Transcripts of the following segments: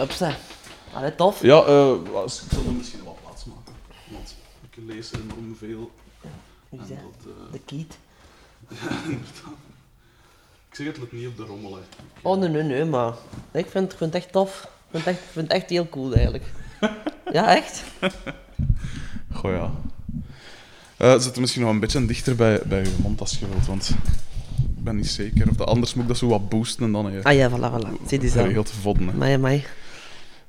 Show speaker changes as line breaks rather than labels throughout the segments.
up zijn. Allee, tof.
Ja, eh, als-
Ik zal er misschien wat plaats maken. Want ik lees enorm veel. En
Wie is dat?
dat, eh,
De kiet.
inderdaad. Ik zeg het let niet op de rommel. Hè.
Oh, nee, nee, nee, maar ik vind, ik vind het echt tof. Ik vind het echt, ik vind het echt heel cool, eigenlijk. Ja, echt.
Goh ja. Eh zet hem misschien nog een beetje dichter bij, bij uw mond als je wilt, want ik ben niet zeker. Of dat, anders moet ik dat zo wat boosten en dan je
Ah ja, voilà, voilà. Zie die zo.
geregeld vodden. hè.
Amai, amai.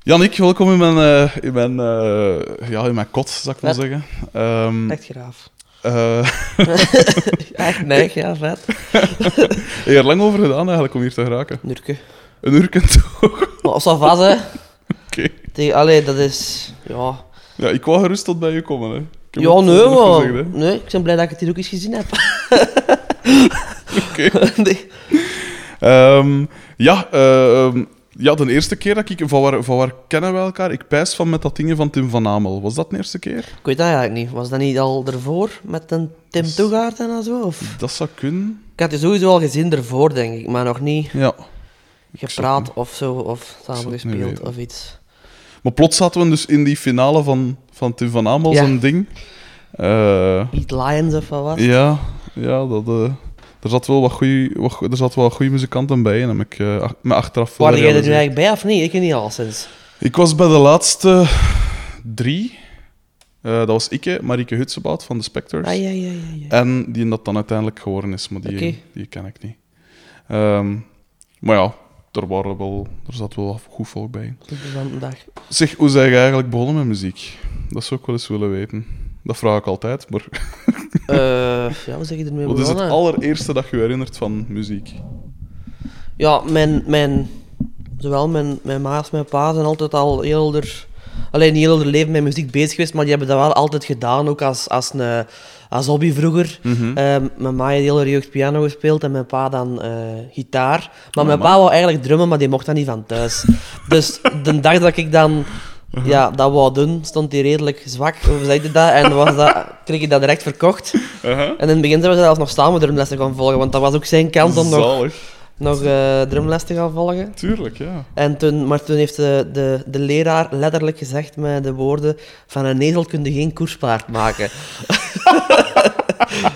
Janik, welkom in mijn, eh, in, mijn, eh, ja, in mijn kot, zou ik maar
Vet.
zeggen. Ehm,
Echt graaf.
eh,
Echt neig, ja, vet.
heb je er lang over gedaan eigenlijk om hier te geraken?
Nurke.
Een uur kent toch?
Maar als dat vast, hè.
Oké.
Die- Allee, dat is... Ja.
Ja, ik wou gerust tot bij u komen. Hè. Ik heb
Ja,
het
nee,
al nog
maar...
gezegd, hè.
nee, ik ben blij dat ik het hier ook eens gezien heb.
Oké.
Nee.
Ehm, ja, eh, ehm, ja, de eerste keer dat ik... Van waar, van waar kennen we elkaar? Ik pijs van met dat dingen van Tim van Amel. Was dat de eerste keer?
Ik weet dat eigenlijk niet. Was dat niet al ervoor met een Tim
Dus-
Toegaard en zo? Of?
Dat zou kunnen.
Ik had je sowieso al gezien ervoor, denk ik, maar nog niet
Ja. zou
gepraat of zo, of samen
zou het niet
gespeeld
weten.
of iets.
Maar plots zaten we dus in die finale van, van Tim van Amel,
Ja.
zijn ding. Eh,
Eat Lions of wat was. het?
ja, ja dat, eh, er zat wel wat goede wat, go- er zat wel wat goeie muzikanten bij. En heb ik eh, ach- me achteraf wel
Waren jij er nu
gerealiseerd.
eigenlijk bij of niet? Ik weet niet al sinds.
Ik was bij de laatste drie. Eh, dat was Ikke, Marieke Hutsebout van de Spectors.
Ah, ja, ja, ja, ja.
En die dat dan uiteindelijk geworden is, maar die,
Oké.
die ken ik niet. Ehm, maar ja, er, waren wel, er zat wel wat goed volk bij.
Interessante dag.
Zeg, hoe zijn je eigenlijk begonnen met muziek? Dat zou ik wel eens willen weten. Dat vraag ik altijd, maar
Eh, ja, hoe zeg je ermee
wat is het
begonnen?
allereerste dat je je herinnert van muziek?
Ja, mijn, mijn, zowel mijn, mijn ma als mijn pa zijn altijd al heel er, alleen heel hun leven met muziek bezig geweest, maar die hebben dat wel altijd gedaan, ook als, als, een, als hobby vroeger. Ehm, mijn ma heeft heel haar jeugd piano gespeeld en mijn pa dan eh, gitaar. Maar
Oh,
mijn
man.
pa wou eigenlijk drummen, maar die mocht dat niet van thuis. dus de dag dat ik dan ja, dat wou doen, stond hij redelijk zwak, hoe zei je dat? En was dat, kreeg ik dat direct verkocht. En in het begin zijn we zelfs nog samen drumlessen gaan volgen, want dat was ook zijn kans om nog
Zalig.
nog eh, drumles te gaan volgen.
Tuurlijk, ja.
En toen, maar toen heeft de, de, de leraar letterlijk gezegd met de woorden van een ezel kun je geen koerspaard maken. en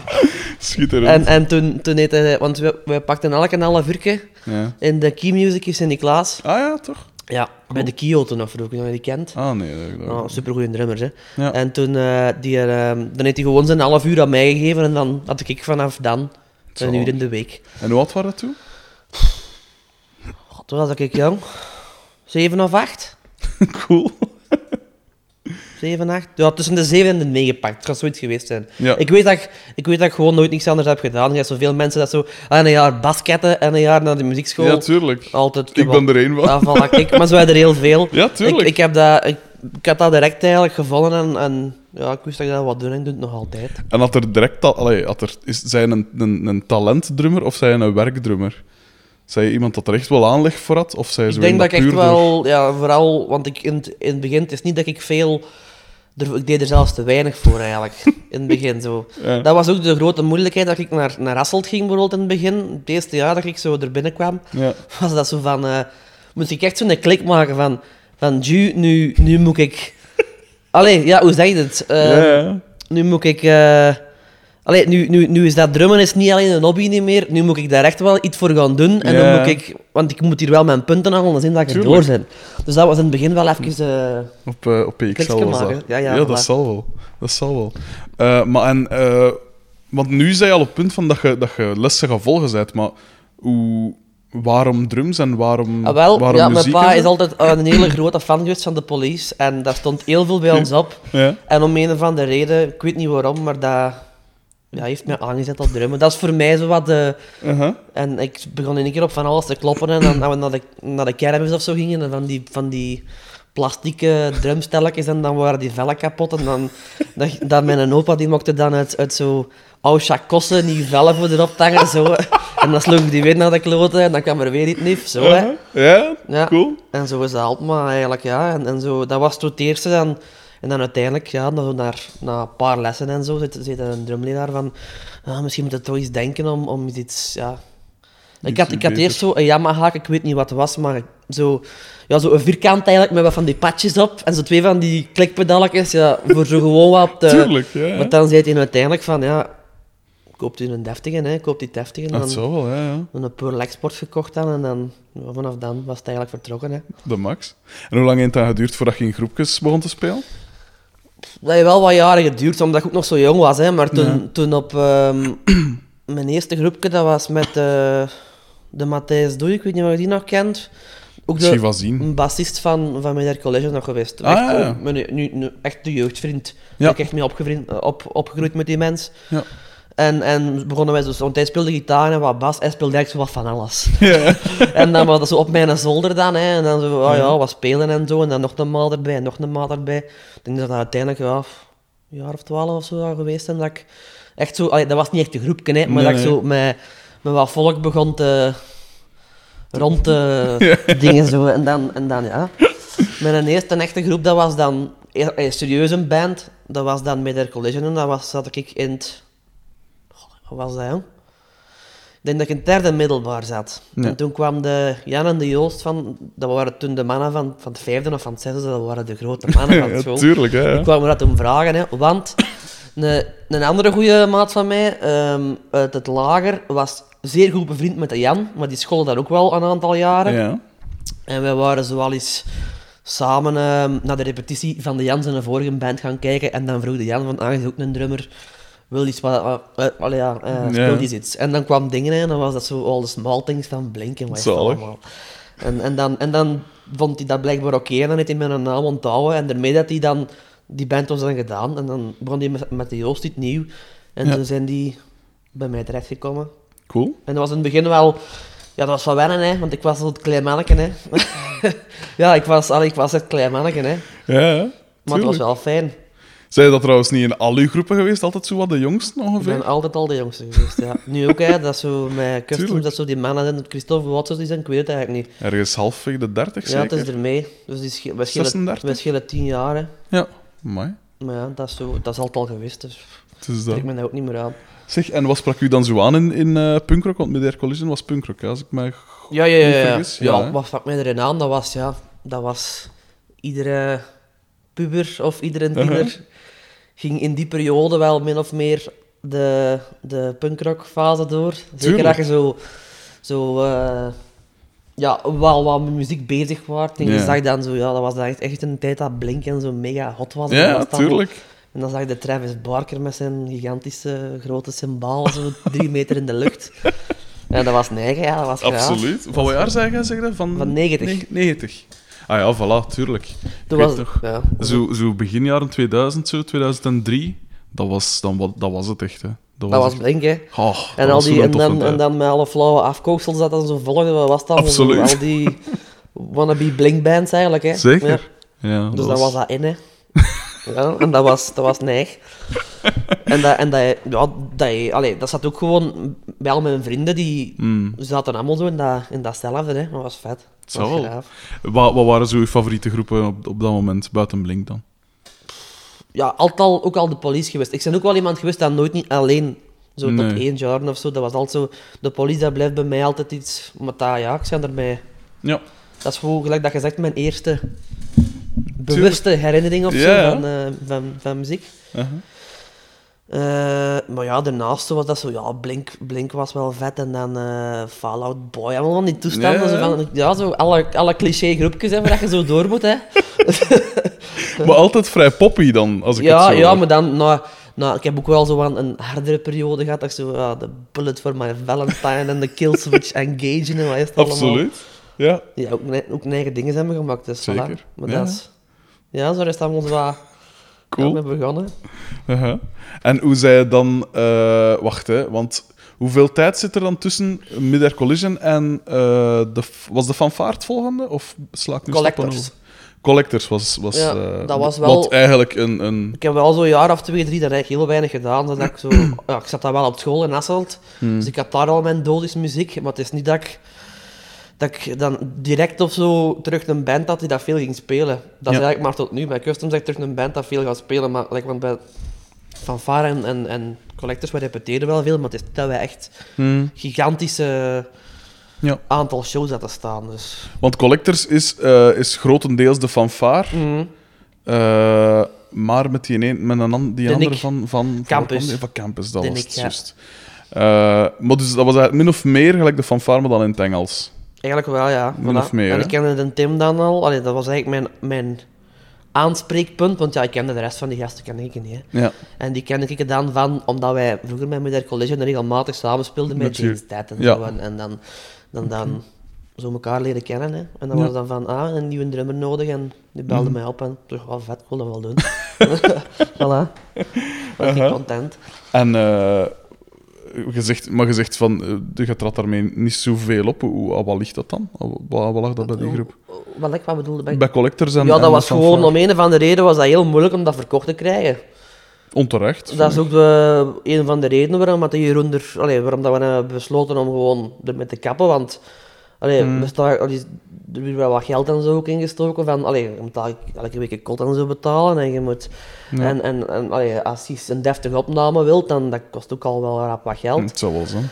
Schitterend.
en toen, toen heeft hij, want we, we pakten elke een half uurtje
Ja.
in de Key Music in Sint-Niklaas.
Ah ja, toch?
Ja, bij de Kyoto nog vroeger, nog je die kent.
Ah nee, dat heb ik dat-
Oh, supergoeie drummers, hè.
Ja.
En toen, eh, die, er, ehm, dan heeft hij gewoon zijn half uur aan mij gegeven en dan had ik vanaf dan een
Zalig.
uur in de week.
En hoe oud waren dat toen?
Oh, toen was ik jong. Zeven of acht?
cool.
7, 8. Ja, tussen de 7 en de 9 pakt. Het kan zoiets geweest zijn.
Ja.
Ik, weet dat ik, ik weet dat ik gewoon nooit niks anders heb gedaan. Je hebt zoveel mensen dat zo ah, een jaar basketten en een jaar naar de muziekschool.
Ja, tuurlijk.
Altijd.
Ik ben er één van.
Ah, voilà, kijk, maar zo waren er heel veel.
Ja,
Ik,
tuurlijk.
ik, heb dat, ik, ik had dat direct eigenlijk gevonden en, en ja, ik wist dat ik dat wat doen en ik doe het nog altijd.
En had er direct al, allee, had er, is zij een, een, een talentdrummer of zij een werkdrummer? Zij iemand dat er echt wel aanleg voor had? Of zij zo
Ik denk dat
iemand
ik echt
puur door-
wel, ja, vooral, want ik in, het- in het begin, het is niet dat ik veel, er- ik deed er zelfs te weinig voor eigenlijk, in het begin zo.
Ja.
Dat was ook de grote moeilijkheid dat ik naar, naar Hasselt ging bijvoorbeeld in het begin, het eerste jaar dat ik zo er binnenkwam,
Ja.
was dat zo van, eh, moest ik echt zo'n klik maken van, van "Ju, nu, nu moet ik... Allee, ja, hoe zeg je het? Eh,
Ja, ja.
Nu moet ik... eh, Allee, nu, nu, nu is dat drummen is niet alleen een hobby niet meer. Nu moet ik daar echt wel iets voor gaan doen. En
Ja.
dan moet ik... Want ik moet hier wel mijn punten halen, dan zien dat ik
Tuurlijk.
erdoor ben. Dus dat was in het begin wel even... eh,
Op, eh op PXL
Klikske
was dat.
maken. Ja, ja,
dat
voilà.
zal wel. Dat zal wel. Eh, maar en, eh, want nu zei je al op het punt van dat je, dat je lessen gaat volgen bent, maar hoe, waarom drums en waarom,
Ah, wel,
Mm. waarom
ja, mijn
muziek?
pa
en
is
zo?
altijd eh, een hele grote fan geweest van de police. En daar stond heel veel bij ons op.
Ja.
En om een of andere reden, ik weet niet waarom, maar dat... Ja, heeft mij aangezet op drummen. Dat is voor mij zo wat de...
Uh-huh.
En ik begon in één keer op van alles te kloppen. En dan, dat we naar de, naar de kermis of zo gingen. En van die, van die plastieke drumstelletjes. En dan waren die vellen kapot. En dan, dan, dan mijn opa die mocht dan uit, uit zo oude chakossen die vellen voor erop tangen. Zo. En dan sloeg ik die weer naar de kloten. En dan kwam er weer iets nieuws. Zo, hè.
Uh-huh. Ja?
Ja.
Cool.
En zo is dat altijd maar eigenlijk, ja. En, en zo, dat was toen het eerste. En, en dan uiteindelijk, ja, na, na, na een paar lessen en zo, zit, zit er een drumleraar van... "Ah, misschien moet je toch eens denken om, om iets, ja... Ik had, ik had eerst zo een Yamaha, ik weet niet wat het was, maar zo, ja, zo een vierkant eigenlijk met wat van die patjes op. En zo twee van die klikpedalletjes, ja, voor zo gewoon wat... eh,
Tuurlijk, ja. ja.
Maar dan zei hij uiteindelijk van, ja, koopt u een deftige, hè, koopt die deftige. En
Dat
dan
zou Ah, wel, ja, ja.
een Pearl Export gekocht dan en dan, ja, vanaf dan was het eigenlijk vertrokken. Hè.
De max. En hoe lang heeft dat geduurd voordat je in groepjes begon te spelen?
Dat heeft wel wat jaren geduurd, omdat ik ook nog zo jong was. Hè. Maar toen, toen op ehm, mijn eerste groepje, dat was met eh, de Matthijs Doei, ik weet niet of je die nog kent. Ook
Zie
de
wat zien.
een bassist van, van mijn college nog geweest.
Ah,
echt,
ja, ja.
eh, mijn- nu, nu, echt de jeugdvriend.
Ja.
Daar ben ik echt mee opgevriend- eh, op, opgegroeid met die mens.
Ja.
En, en begonnen wij dus, want hij speelde gitaar en wat bas, hij speelde eigenlijk zo wat van alles.
Ja.
En dan was dat zo op mijn zolder dan, hè. En dan zo, oh
Ja.
ja, wat spelen en zo. En dan nog een maal erbij, en nog een maal erbij. Ik denk dat dat uiteindelijk, ja, f- een jaar of twaalf of zo zou geweest zijn. Dat ik echt zo... allee, dat was niet echt een groepje, hè. Maar
Nee,
dat
nee.
ik zo met, met wat volk begon te... Rond te dingen zo. En dan, en dan, ja. Mijn eerste echte groep, dat was dan... eh, eh, Serieus een band. Dat was dan met Air Collision. En dat was, zat ik in het... Wat was dat, jong? Ik denk dat ik in het derde middelbaar zat.
Ja.
En toen kwam de Jan en de Joost van... Dat waren toen de mannen van, van het vijfde of van het zesde. Dat waren de grote mannen van
Ja,
het school.
tuurlijk, hè,
Ik
ja.
kwam me dat om vragen, hè, want een, een andere goede maat van mij ehm, uit het lager was zeer goed bevriend met de Jan, maar die school daar ook wel een aantal jaren.
Ja.
En wij waren zoal eens samen ehm, naar de repetitie van de Jan zijn vorige band gaan kijken en dan vroeg de Jan van, ah, je is ook een drummer, wil iets wat, wat- wat- allee, ja, eh,
Ja.
speel eens iets. En dan kwam dingen en dan was dat zo all the small things van blinken, wat is dat
Zalig.
allemaal. En, en, dan, en dan vond hij dat blijkbaar oké en dan heeft hij mijn naam onthouden. En daarmee dat hij dan die band was dan gedaan. En dan begon hij met, met de Joost iets nieuw. En
Ja.
toen zijn die bij mij terechtgekomen.
Cool.
En dat was in het begin wel... Ja, dat was van wennen, hè. Want ik was zo'n klein manneke, hè. ja, ik was, allee, ik was echt klein manneke, hè.
Ja, ja.
Maar het was
Tuurlijk.
wel fijn.
Zijn dat trouwens niet in al uw groepen geweest? Altijd zo wat de jongsten
Ik
ongeveer?
ben altijd al de jongste geweest, ja. Nu ook, hè. Dat is zo met customs,
Tuurlijk.
dat zo die mannen zijn. Christophe Watson, die zijn, ik weet het eigenlijk niet.
Ergens halfweg de 30
Ja, het
zeker?
is ermee. Dus die sche- we, schelen,
36?
we schelen tien jaar, hè.
Ja. Amai.
Maar ja, dat is, zo, dat is altijd al geweest, dus
Het is dat.
trek me dat ook niet meer aan.
Zeg, en wat sprak u dan zo aan in, in eh punkrock? Want Medair Collision was punkrock, hè, als ik mij...
Ja, ja,
Niet
ja. ja.
vergis, ja,
ja
hè?
wat stak mij erin aan? Dat was, ja, dat was iedere puber of iedere tiener ging in die periode wel min of meer de, de punkrockfase door. Zeker
Tuurlijk.
dat je zo, zo eh, ja, wel wat met muziek bezig was. En je
Ja.
zag dan zo, ja, dat was dan echt, echt een tijd dat Blink en zo mega hot was. En dat
Ja,
was dan-
tuurlijk.
en dan zag je de Travis Barker met zijn gigantische grote symbaal, zo drie meter in de lucht. En dat was negen, ja, dat was graaf.
Absoluut. Van wat jaar zei jij, zeg dat? Van,
Van 90.
Ne- 90. Ah ja, voilà, tuurlijk.
Toen
Ik
was,
weet nog,
ja,
Zo, zo begin jaren 2000, zo, 2003, dat was, dan, wa- dat was het echt, hè. Dat
dat was
echt-
Blink, hè.
Ah, dat
En, al
was
die,
zo'n
en,
toffe
dan,
tijd.
en dan met alle flauwe afkooksels dat dan zo volgde, wat was dat?
Absoluut.
Zo Al die wannabe Blink-bands eigenlijk, hè.
Zeker.
Ja.
Ja,
Dus dat was dat in, hè. Ja, en dat was, dat was neig. En dat, en dat, ja, dat, allee, dat zat ook gewoon bij al mijn vrienden, die
Mm.
zaten allemaal zo in, dat, in datzelfde, hè. Dat was vet. Dat was
Zo.
graaf.
Wat, wat waren zo uw favoriete groepen op, op dat moment, buiten Blink dan?
ja, altijd al, ook al de police geweest. Ik ben ook wel iemand geweest dat nooit niet alleen, zo
Nee.
tot één jaar of zo, dat was altijd zo, de police, dat blijft bij mij altijd iets, maar dat, ja, ik ben ermee.
Ja.
Dat is gewoon, gelijk dat je zegt, mijn eerste bewuste herinnering of
Ja, ja.
zo van, eh, van, van muziek.
Uh-huh.
Eh, maar ja, daarnaast was dat zo, ja, Blink, Blink was wel vet en dan eh, Fallout Boy, allemaal van die toestanden.
Ja.
Zo van, ja, zo alle, alle cliché groepjes hè, waar dat je zo door moet, hè.
Maar altijd vrij poppy dan, als ik het
Ja,
zo
ja
hoor.
maar dan... Nou, nou, ik heb ook wel zo aan een hardere periode gehad. Dat ik zo ja, de bullet for my Valentine en de killswitch engaging en wat is het allemaal.
Absoluut. Ja.
Ja, ook, ne- ook eigen dingen zijn we gemaakt, dus voilà.
Zeker.
Maar
Ja.
dat is... Ja, zo is dat ons wat
Cool.
mee begonnen.
Aha. En hoe zij dan... eh, wacht, hè, want hoeveel tijd zit er dan tussen Midair Collision en... eh, de, f- was de fanfare het volgende? Of sla ik nu
Collectors.
stappen over? Collectors was... was
Ja,
eh,
dat was wel-
Wat eigenlijk een... een
Ik heb wel zo'n jaar of twee, drie, daar heb ik heel weinig gedaan. Dat ik, zo, ja, ik zat dan wel op school in Hasselt, dus ik had daar al mijn dodische muziek. Maar het is niet dat ik, dat ik dan direct of zo terug een band had die dat veel ging spelen. Dat is
Ja.
eigenlijk maar tot nu. Bij Customs heb ik terug een band dat veel gaat spelen. Maar like, want bij Fanfare en, en, en Collectors, we repeteren wel veel, maar het is niet dat wij echt
Hmm.
gigantische
Ja.
aantal shows dat te staan. Dus.
Want Collectors is, eh, is grotendeels de fanfaar,
Mhm.
eh, maar met die, een, met een an- die
De
andere
Nick.
van, van...
Campus.
Van, van Campus, dat
De
was
Nick,
het,
ja.
juist. Eh, maar dus dat was eigenlijk min of meer gelijk de fanfaar, maar dan in het Engels.
Eigenlijk wel, ja.
Min of meer,
En
hè?
ik kende de Tim dan al. Allee, dat was eigenlijk mijn, mijn aanspreekpunt, want ja, ik kende de rest van die gasten kende ik niet. Hè.
Ja.
En die kende ik er dan van, omdat wij vroeger met Middag College regelmatig samen speelden met
Met je-
James Tijd en
ja.
zo. En, en dan, dan, dan zo elkaar leren kennen. Hè. En dan
Ja. Mhm.
was dan van, ah, een nieuwe drummer nodig. En die belde mij op en toch wel vet, ik wil dat wel doen. voilà. Was ik
Aha.
content.
En eh gezegd, maar gezegd van, eh, je trad daarmee niet zoveel op. Hoe- Hoe, ah, wat ligt dat dan? Wat, wat lag dat bij die groep?
Wat ik wat bedoelde bij...
Bij collectors en
Ja,
en
dat was
van
gewoon
Vaar.
om een of andere reden was dat heel moeilijk om dat verkocht te krijgen.
Onterecht.
Dat
vind
is
ik.
ook de, een van de redenen waarom dat die Jeroen er, allee, waarom dat we hebben besloten om gewoon ermee te kappen. Want allee,
Hmm.
we staan, allee, er wordt wel wat geld en zo ook ingestoken. Van, allee, je moet elke, elke week een kot en zo betalen. En, je moet,
Ja.
en, en, en allee, als je een deftige opname wilt, dan dat kost ook al wel rap wat geld.
Hm, Het zou wel zijn.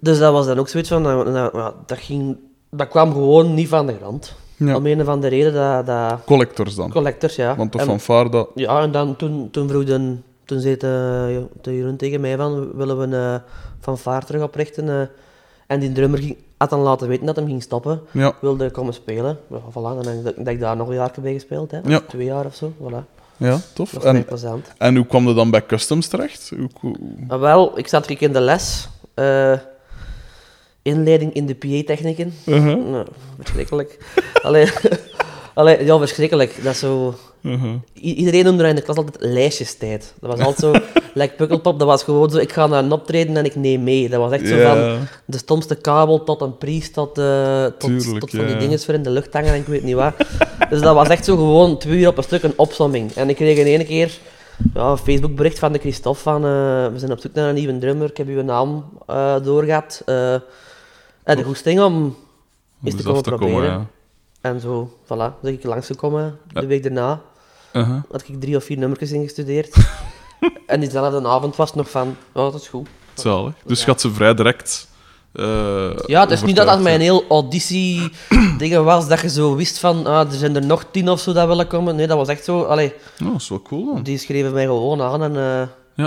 Dus dat was dan ook zoiets van, nou, nou, ja, dat, ging, dat kwam gewoon niet van de grond.
Ja.
Om een of andere reden dat, dat
Collectors dan.
collectors, ja.
Want de
En-
fanfare, dat...
ja, en dan, toen, toen vroeg de, toen zei de, de Jeroen tegen mij van, willen we een van vaart terug oprichten? eh?" en die drummer ging, had dan laten weten dat hem ging stoppen.
Ja.
Wilde komen spelen. Ja, voilà, dan heb ik, dat ik daar nog een jaar bij gespeeld. Hè. Of
Ja.
Twee jaar of zo. Voilà.
ja, tof.
Nog vrij
En,
plezant.
en hoe kwam je dan bij Customs terecht? Hoe, hoe-
Maar wel, ik zat ik in de les. eh, inleiding in de PA-technieken.
Uh-huh,
Nou, verschrikkelijk. Allee, allee, ja, verschrikkelijk. Dat is zo...
uh-huh.
I- Iedereen noemde dat in de klas altijd lijstjestijd. Dat was altijd zo, like Pukkelpop, dat was gewoon zo, ik ga naar een optreden en ik neem mee. Dat was echt zo van,
Ja.
de stomste kabel tot een priest, tot, eh, tot,
Tuurlijk,
tot van die
ja.
dingen voor in de lucht hangen en ik weet niet wat. dus dat was echt zo gewoon twee uur op een stuk een opsomming. En ik kreeg in één keer ja, een Facebookbericht van de Christophe van, eh, we zijn op zoek naar een nieuwe drummer, ik heb uw naam eh doorgehad. eh en de goesting om eens te
eens
komen
af
proberen.
ja.
En zo, voilà, ben ik langsgekomen
Ja.
de week daarna
Uh-huh.
had ik drie of vier nummertjes ingestudeerd. en diezelfde avond was het nog van, oh, dat is goed.
Zalig. Dus gaat ze vrij direct... eh,
Ja, het is niet dat dat
overtuigd,
mijn
ja.
heel auditie dingen was, dat je zo wist van, ah, er zijn er nog tien of zo dat willen komen. Nee, dat was echt zo, allee,
Oh, dat is wel cool dan.
die schreven mij gewoon aan en eh,
Ja.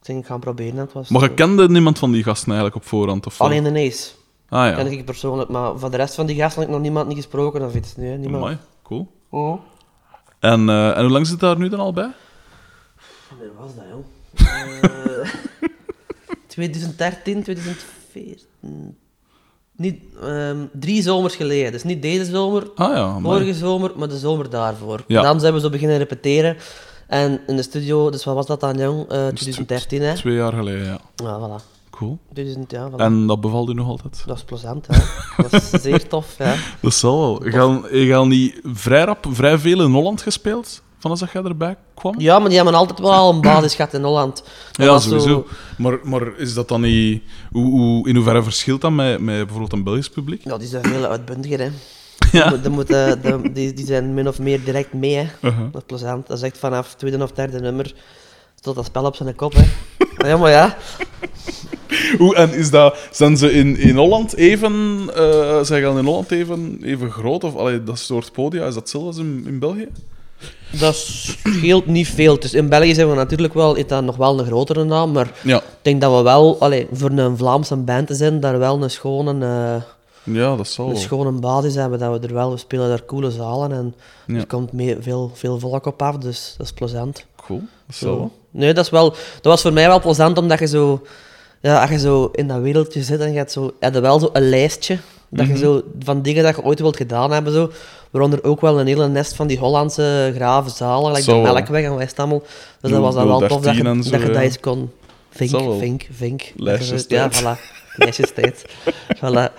ik denk, ik ga het proberen. en Het was
Maar je kende niemand van die gasten eigenlijk op voorhand? Of wel?
Alleen de Ace,
Ah ja,
ken ik persoonlijk, maar van de rest van die gasten had ik nog niemand niet gesproken of iets. Nee, niemand.
Amai, cool.
Oh.
En, eh, en hoe lang zit daar nu dan al bij?
Wanneer was dat, joh? Eh, 2013, 2014. Niet, ehm, drie zomers geleden. Dus niet deze zomer,
Ah ja, amai.
vorige zomer, maar de zomer daarvoor.
Ja.
Dan zijn we zo beginnen repeteren. En in de studio, dus wat was dat dan, jong? Eh, 2013, hè?
twee jaar geleden, ja.
Ja, voilà.
Cool.
2000, ja, voilà.
En dat bevalt u nog altijd?
Dat is plezant, hè? Dat is zeer tof, ja.
Dat zal wel. Je gaat- Je gaat niet vrij rap, vrij veel in Holland gespeeld, vanaf dat jij erbij kwam?
Ja, maar die hebben altijd wel al een basis gehad in Holland. Dat
Ja,
was zo-
sowieso. Maar, maar is dat dan niet... Hoe, hoe, in hoeverre verschilt dat met, met bijvoorbeeld een Belgisch publiek?
Ja, die zijn veel uitbundiger, hè.
Ja.
Die, moeten, die- die, die zijn min of meer direct mee, hè.
Uh-huh.
Dat is plezant. Dat is echt vanaf het tweede of derde nummer tot dat spel op zijn kop, hè. Ah, Ja, maar ja.
Hoe, en is dat, zijn ze in, in Holland even... eh, zijn gaan in Holland even, even groot? Of allee, dat soort podia, is dat hetzelfde als in, in België?
Dat scheelt niet veel. Dus in België zijn we natuurlijk wel, is dat nog wel een grotere naam, maar
Ja.
ik denk dat we wel, allee, voor een Vlaamse band te zijn, daar wel een schone, eh,
Ja, dat zal
een
wel.
schone basis hebben. Dat we er wel, we spelen daar coole zalen en
Ja.
er komt mee, veel, veel volk op af, dus dat is plezant.
Cool, dat zal wel.
Nee, dat, is wel, dat was voor mij wel plezant, omdat je zo... Ja, als je zo in dat wereldje zit, dan gaat zo, heb je wel zo een lijstje. Dat
Mhm.
je zo, van dingen dat je ooit wilt gedaan hebben, zo, waaronder ook wel een hele nest van die Hollandse graven zalen, like
Zo
de
wel.
Melkweg en Westhammel. Dus dat
Nul-
was dan wel tof dat je
013 en
dat,
zo,
je dat
ja.
eens kon... Vink,
Zo wel.
vink, vink. Dat je
Lijstjes
zo- Ja,
tijd.
voilà. Lijstjes tijd. Voilà.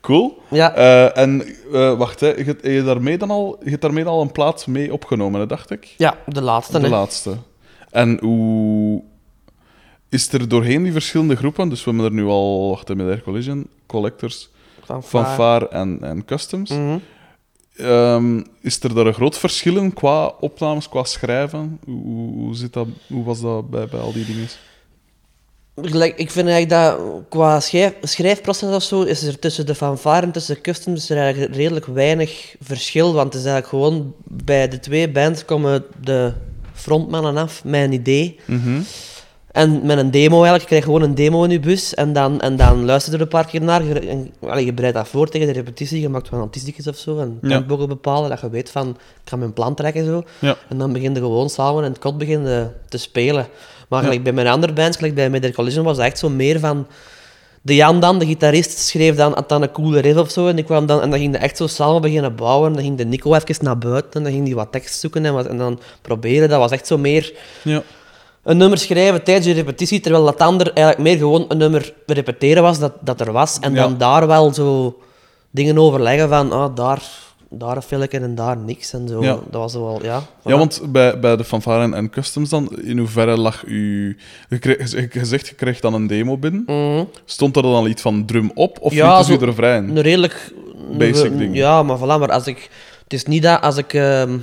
Cool.
Ja,
Eh, en eh, wacht, hè. Je, hebt- je, hebt daarmee dan al, je hebt daarmee dan al een plaat mee opgenomen, hè, dacht ik?
ja, de laatste.
De
hè.
laatste. En hoe is er doorheen die verschillende groepen? Dus we hebben er nu al, wacht, hè, met Air Collision, Collectors,
Van Vaar.
Fanfare en, en Customs.
Mhm.
Ehm, is er daar een groot verschil in qua opnames, qua schrijven? Hoe, hoe, hoe zit dat, hoe was dat bij, bij al die dingen?
gelijk, ik vind eigenlijk dat qua schrijf, schrijfproces of zo, is er tussen de fanfare en tussen customs is er eigenlijk redelijk weinig verschil. Want het is eigenlijk gewoon bij de twee bands komen de frontmannen af met een idee.
Mhm.
En met een demo eigenlijk, je krijgt gewoon een demo in je bus en dan, en dan luister je er een paar keer naar. Je, en, allee, je bereidt dat voor tegen de repetitie, je maakt van antisticus of zo, en
Ja.
tempo bepalen, dat je weet van, ik ga mijn plan trekken zo.
Ja.
En dan begin je gewoon samen in het kot begin je te spelen. Maar gelijk bij mijn andere bands, gelijk bij Midder Collision, was dat echt zo meer van... De Jan dan, de gitarist, schreef dan, had dan een coole riff of zo. En, die kwam dan, en dan ging hij echt zo samen beginnen bouwen. En dan ging de Nico even naar buiten. En dan ging hij wat tekst zoeken en, wat, en dan proberen. Dat was echt zo meer
Ja.
een nummer schrijven tijdens je repetitie, terwijl dat ander eigenlijk meer gewoon een nummer repeteren was dat, dat er was. En
Ja.
dan daar wel zo dingen overleggen van, ah, daar, daar een filmpje en daar niks en zo.
Ja.
Dat was zo wel, ja.
Ja,
voilà.
want bij, bij de fanfare en, en customs dan, in hoeverre lag u... Je, kreeg, je- je zegt, je kreeg dan een demo binnen.
Mhm.
Stond er dan iets van drum op, of
Ja,
ja, liet
zo-
u er vrij in?
Een redelijk... een-
Basic
een-
ding.
Ja, maar voilà, maar als ik... Het is niet dat als ik... ehm,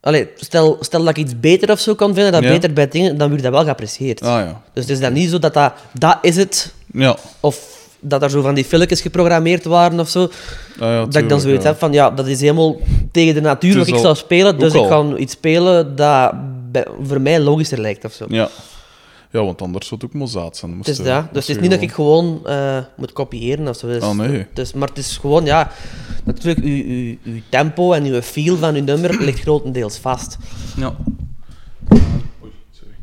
Allee, stel, stel dat ik iets beter of zo kan vinden, dat
Ja.
beter bij dingen, dan wordt dat wel geapprecieerd.
Ah ja.
Dus het is dan niet zo dat dat... Dat is het,
Ja.
of... Dat er zo van die filmpjes geprogrammeerd waren of zo.
Ah, ja
dat ik dan
tuurlijk,
zoiets
ja.
heb van, ja, dat is helemaal tegen de natuur
Het
wat
is
ik
al-
zou spelen,
ook
dus ik
al.
ga iets spelen dat bij- voor mij logischer lijkt of zo.
Ja. Ja, want anders zou het ook mozaat zijn. moest
Het is
je-
dat. Dus
moest
het is niet
je
dat ik
gewoon-
gewoon eh, moet kopiëren of zo. Dus,
Ah, nee.
dus, maar het is gewoon, ja, natuurlijk, uw, uw, uw tempo en uw feel van uw nummer ligt grotendeels vast.
Ja. Oei, sorry.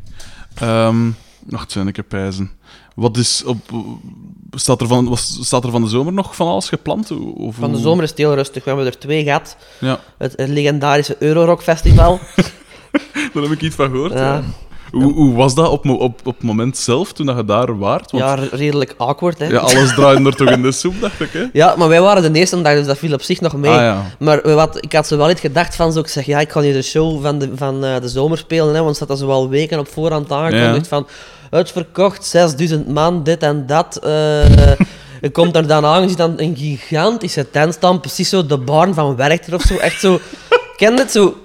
Ehm, wacht, zijn ik heb pijzen. Wat is op... Staat er, van, was, staat er van de zomer nog van alles gepland? Of,
Van de
hoe-
zomer is het heel rustig. We hebben er twee gehad.
Ja,
Het, het legendarische Eurorock Festival.
daar heb ik iets van gehoord.
Ja.
ja. Hoe, hoe was dat op, mo- op, op het moment zelf, toen dat je daar waart? Want
ja,
ja,
redelijk awkward, hè.
alles draaide er toch in de soep, dacht ik, hè?
Ja, maar wij waren de eerste dag, dus dat viel op zich nog mee.
Ah, ja.
Maar we had- ik had zo wel iets gedacht van, zo, ik zeg, ja, ik ga hier de show van de, van, eh, de zomer spelen, hè, want ze hadden zo al weken op voorhand aangekondigd van, uitverkocht, 6000 man, dit en dat. eh je komt er dan aan, je ziet dan een gigantische tent staan, precies zo de barn van Werchter of zo, echt zo. Ken dit zo?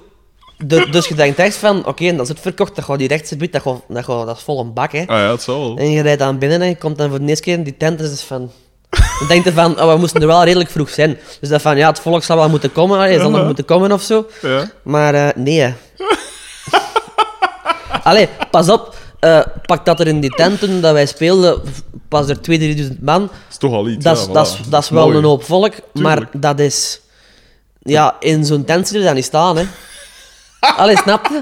Du- dus je denkt echt van, oké, en dat is het verkocht, dat gaat die rechtse biedt, dat, gaat- dat, gaat- dat is vol een bak, hè.
Ah ja, het zou wel.
En je rijdt aan binnen en je komt dan voor de eerste keer in die tent en is het van... Dan denk je van, oh, we moesten er wel redelijk vroeg zijn. Dus dat van, ja, het volk zal wel moeten komen, allee, zal nog
Ja.
moeten komen of zo.
Ja.
Maar eh, nee, hè. Allee, pas op. eh, pak dat er in die tent toen dat wij speelden, pas er 2000, 3000 man.
is toch al iets.
Dat is-
ja,
dat
voilà.
is- dat is wel
Mooi.
een hoop volk, maar
Tuurlijk.
dat is... Ja, in zo'n tent zit je dan niet staan, hè. Allee, snap je?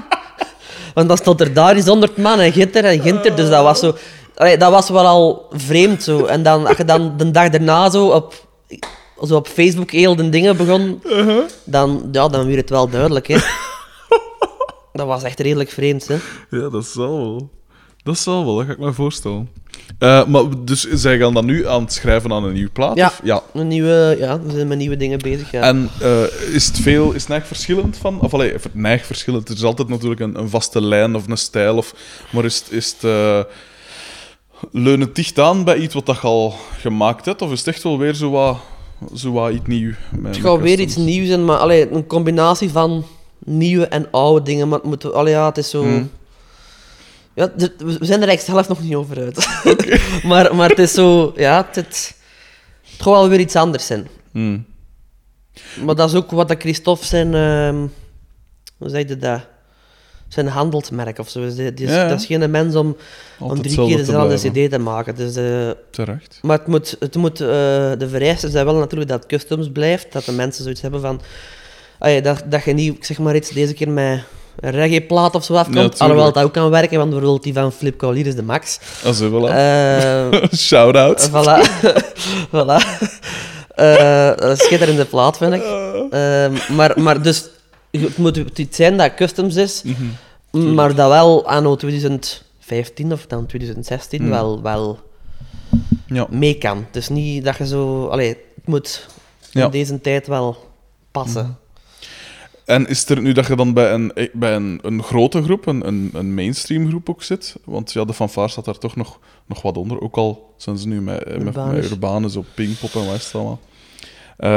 Want dan stond er daar eens 100 man en Ginter en Ginter, dus dat was zo... Allee, dat was wel al vreemd zo. En dan, als je dan de dag daarna zo op, zo op Facebook heel de dingen begon,
Uh-huh.
dan, ja, dan werd het wel duidelijk, hè. Dat was echt redelijk vreemd, hè.
Ja, dat zal wel. Dat zal wel, dat ga ik me voorstellen. Eh, maar dus zij gaan dan nu aan het schrijven aan een nieuw plaat?
Ja.
of- ja.
Een nieuwe, ja, we zijn met nieuwe dingen bezig, ja.
En eh, is het veel, is het neig verschillend van? Of allee, of het neig verschillend, er is altijd natuurlijk een, een vaste lijn of een stijl, of, maar is, het- is het eh, leun het dicht aan bij iets wat dat je al gemaakt hebt, of is het echt wel weer zo wat, zo wat iets nieuw? met-
Het
met
gaat weer iets
customs?
nieuws zijn, maar allee, een combinatie van nieuwe en oude dingen. Maar het, moet, allee, ja, het is zo.
Hmm.
Ja, d- we we zijn er eigenlijk zelf nog niet over uit. maar, maar het is zo, ja, het, het, het gaat wel weer iets anders zijn.
Hmm.
Maar dat is ook wat dat Christophe zijn, ehm, hoe zeg je dat? Zijn handelsmerk of zo. is. Die- die is-
Ja, ja.
Dat is geen mens om, om
Altijd
drie
hetzelfde
keer
te
dezelfde
blijven.
CD te maken. Dus, eh,
Terecht.
maar het moet, het moet, eh, de vereisten zijn wel natuurlijk dat het customs blijft. Dat de mensen zoiets hebben van... ai, dat, dat je niet, ik zeg maar iets, deze keer met een reggae-plaat of zo afkomt.
Ja, tuurlijk.
alhoewel dat ook kan werken, want bijvoorbeeld die van Flip Cavalier is de max.
Als we wel
Eh
Ah, Shout-out.
voilà. voilà. Eh, dat is schitterende plaat, vind ik. Eh, maar, maar dus, het moet iets zijn dat customs is,
Mhm.
maar dat wel anno 2015 of dan 2016
Mm.
wel... wel
Ja.
mee kan. Het is niet dat je zo... Allee, het moet
Ja. Mhm.
in deze tijd wel passen.
En is er nu dat je dan bij een, eh, bij een, een grote groep, een, een, een mainstream groep ook zit? Want ja, de fanfare staat daar toch nog, nog wat onder. Ook al zijn ze nu met, eh, met, met
Urbanus.
Urbanus op Pinkpop en West allemaal. Eh,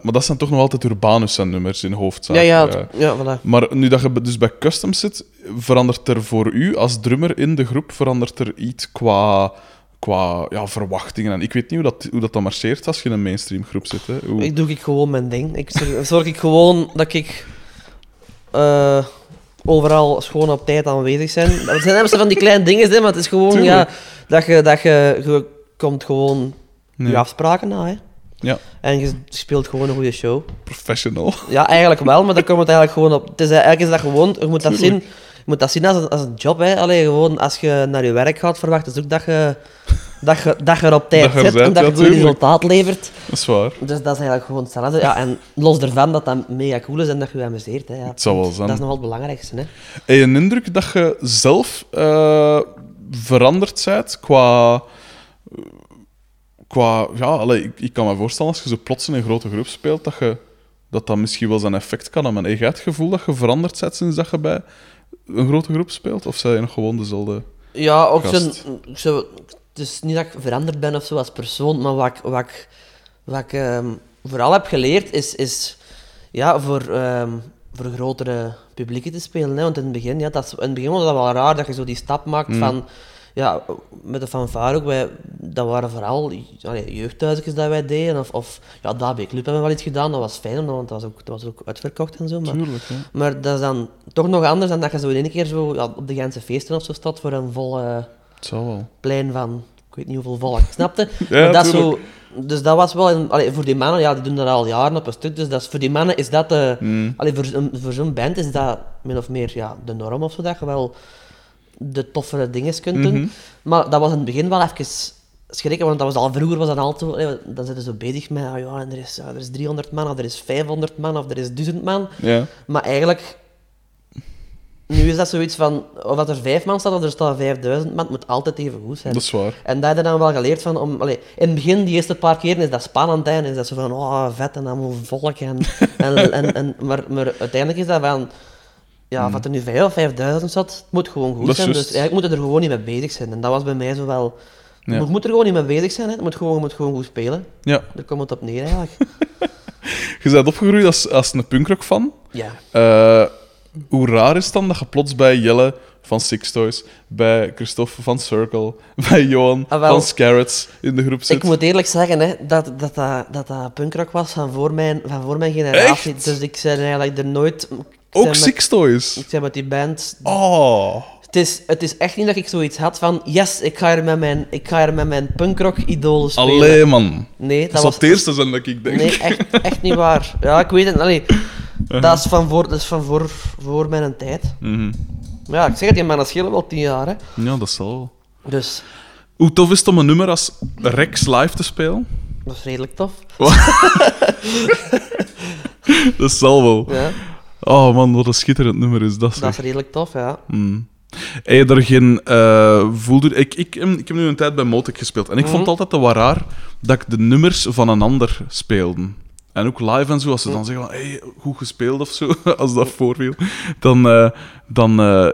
maar dat zijn toch nog altijd Urbanus zijn nummers in hoofdzaak.
Ja, ja,
Eh,
het- ja, voilà.
maar nu dat je dus bij Customs zit, verandert er voor u als drummer in de groep verandert er iets qua, qua ja, verwachtingen. En ik weet niet hoe dat, hoe dat dan marcheert als je in een mainstream groep zit. Hè. Hoe-
Ik doe ik gewoon mijn ding. Ik zorg, zorg ik gewoon dat ik eh, overal schoon op tijd aanwezig zijn. Dat zijn namelijk van die kleine dingen, hè, maar het is gewoon ja,
Tuurlijk.
dat, je, dat je, je komt gewoon
Ja.
je afspraken na. Hè.
Ja.
En je speelt gewoon een goede show.
Professional.
Ja, eigenlijk wel, maar daar komt het eigenlijk gewoon op. Het is, eigenlijk is dat gewoon, je moet dat zien, je moet dat zien als, een, als een job. Hè. Allee, gewoon als je naar je werk gaat, verwacht is ook dat je, dat je, dat je er op tijd
Dat je er
zit en
bent,
dat je
ja,
een goed
tuurlijk.
resultaat levert.
Dat is waar.
Dus dat is eigenlijk gewoon hetzelfde. Ja, en los daarvan dat dat mega cool is en dat je je amuseert. Hè, ja.
Het zou wel
Dat is
zijn.
nogal het belangrijkste. Hè.
Heb je een indruk dat je zelf eh, veranderd bent qua... qua ja, allee, ik, ik kan me voorstellen, als je zo plots in een grote groep speelt, dat je, dat, dat misschien wel zijn effect kan hebben. Heb jij het gevoel dat je veranderd bent sinds dat je bij een grote groep speelt? Of zijn je nog gewoon dezelfde...
Ja, ook zo'n-
Gast.
zo, het is niet dat ik veranderd ben of zo als persoon, maar wat ik, wat ik, wat ik ehm, vooral heb geleerd is, is ja, voor, ehm, voor grotere publieken te spelen. Hè. Want in het begin, ja, dat is, in het begin was dat wel raar dat je zo die stap maakt van. Ja, met de fanfare ook, wij, dat waren vooral allee, jeugdhuisjes dat wij deden. Of, of ja, DAB Club hebben we wel iets gedaan, dat was fijn, want dat was ook, dat was ook uitverkocht en zo. Maar
Tuurlijk, hè.
maar dat is dan toch nog anders dan dat je zo in één keer zo, ja, op de Gentse feesten of zo staat voor een vol eh,
Het zou wel.
plein van ik weet niet hoeveel volk. Snapte?
Ja,
dat zo,
tuurlijk.
dus dat was wel een, allee, voor die mannen, ja, die doen dat al jaren op een stuk. Dus dat is, voor die mannen is dat de.
Hmm.
allee, voor, zo'n- voor zo'n band is dat min of meer ja, de norm of zo, dat je wel de toffere dingen kunt doen.
Mhm.
Maar dat was in het begin wel even schrikken, want dat was al vroeger was dat al zo, allee, dan zitten ze zo bezig met, ah ja, en er, is, ja, er is 300 man, of er is 500 man, of er is 1000 man.
Ja.
Maar eigenlijk, nu is dat zoiets van, of dat er vijf man staat of er staan 5000 man, het moet altijd even goed zijn.
Dat is waar.
En dat heb je dan wel geleerd van, om, allee, in het begin, die eerste paar keer, is dat spannend en is dat zo van, oh, vet en allemaal volk en, en, en, en maar, maar uiteindelijk is dat van, ja, of het er nu vijf of vijfduizend zat, het moet gewoon goed
Hmm. Dat is
zijn, dus
juist.
eigenlijk moet je er gewoon niet mee bezig zijn. En dat was bij mij zo wel,
Ja.
je moet er gewoon niet mee bezig zijn, hè. je moet gewoon, je moet gewoon goed spelen.
Ja.
Daar komt het op neer eigenlijk.
Je bent opgegroeid als, als een punkrock fan.
Ja.
Eh, hoe raar is het dan dat je plots bij Jelle van Six Toys, bij Christophe van Circle, bij Johan
Ah, wel.
van Scarrots in de groep zit?
Ik moet eerlijk zeggen hè, dat, dat, dat, dat dat punkrock was van voor mijn, van voor mijn generatie.
Echt?
Dus ik ben eigenlijk er nooit... ik ben
Ook
met-
Six Toys.
Ik ben met die band...
Oh,
Het is, het is echt niet dat ik zoiets had van... Yes, ik ga hier met mijn, ik ga hier met mijn punkrock-idolen spelen.
alleen man.
Nee, dat,
Dat zal
was...
het eerste zijn dat ik denk.
Nee, echt, echt niet waar. Ja, ik weet het. Allee, Dat is van, voor, dat is van voor, voor mijn tijd.
Uh-huh. Mhm.
Maar ja, ik zeg het, die mannen schelen wel tien jaar. Hè.
Ja, dat zal wel.
Dus
Hoe tof is het om een nummer als Rex live te spelen?
dat is redelijk tof.
Dat zal wel.
Ja,
Oh man, wat een schitterend nummer is dat.
dat
zeg.
is redelijk tof, ja.
Heb je er geen eh, voelde... Ik, ik, ehm, ik heb nu een tijd bij Motic gespeeld. En ik vond het altijd wel raar dat ik de nummers van een ander speelde. En ook live en zo, als ze dan zeggen van... Hey, goed gespeeld of zo, als dat voorviel. Dan, eh, dan eh,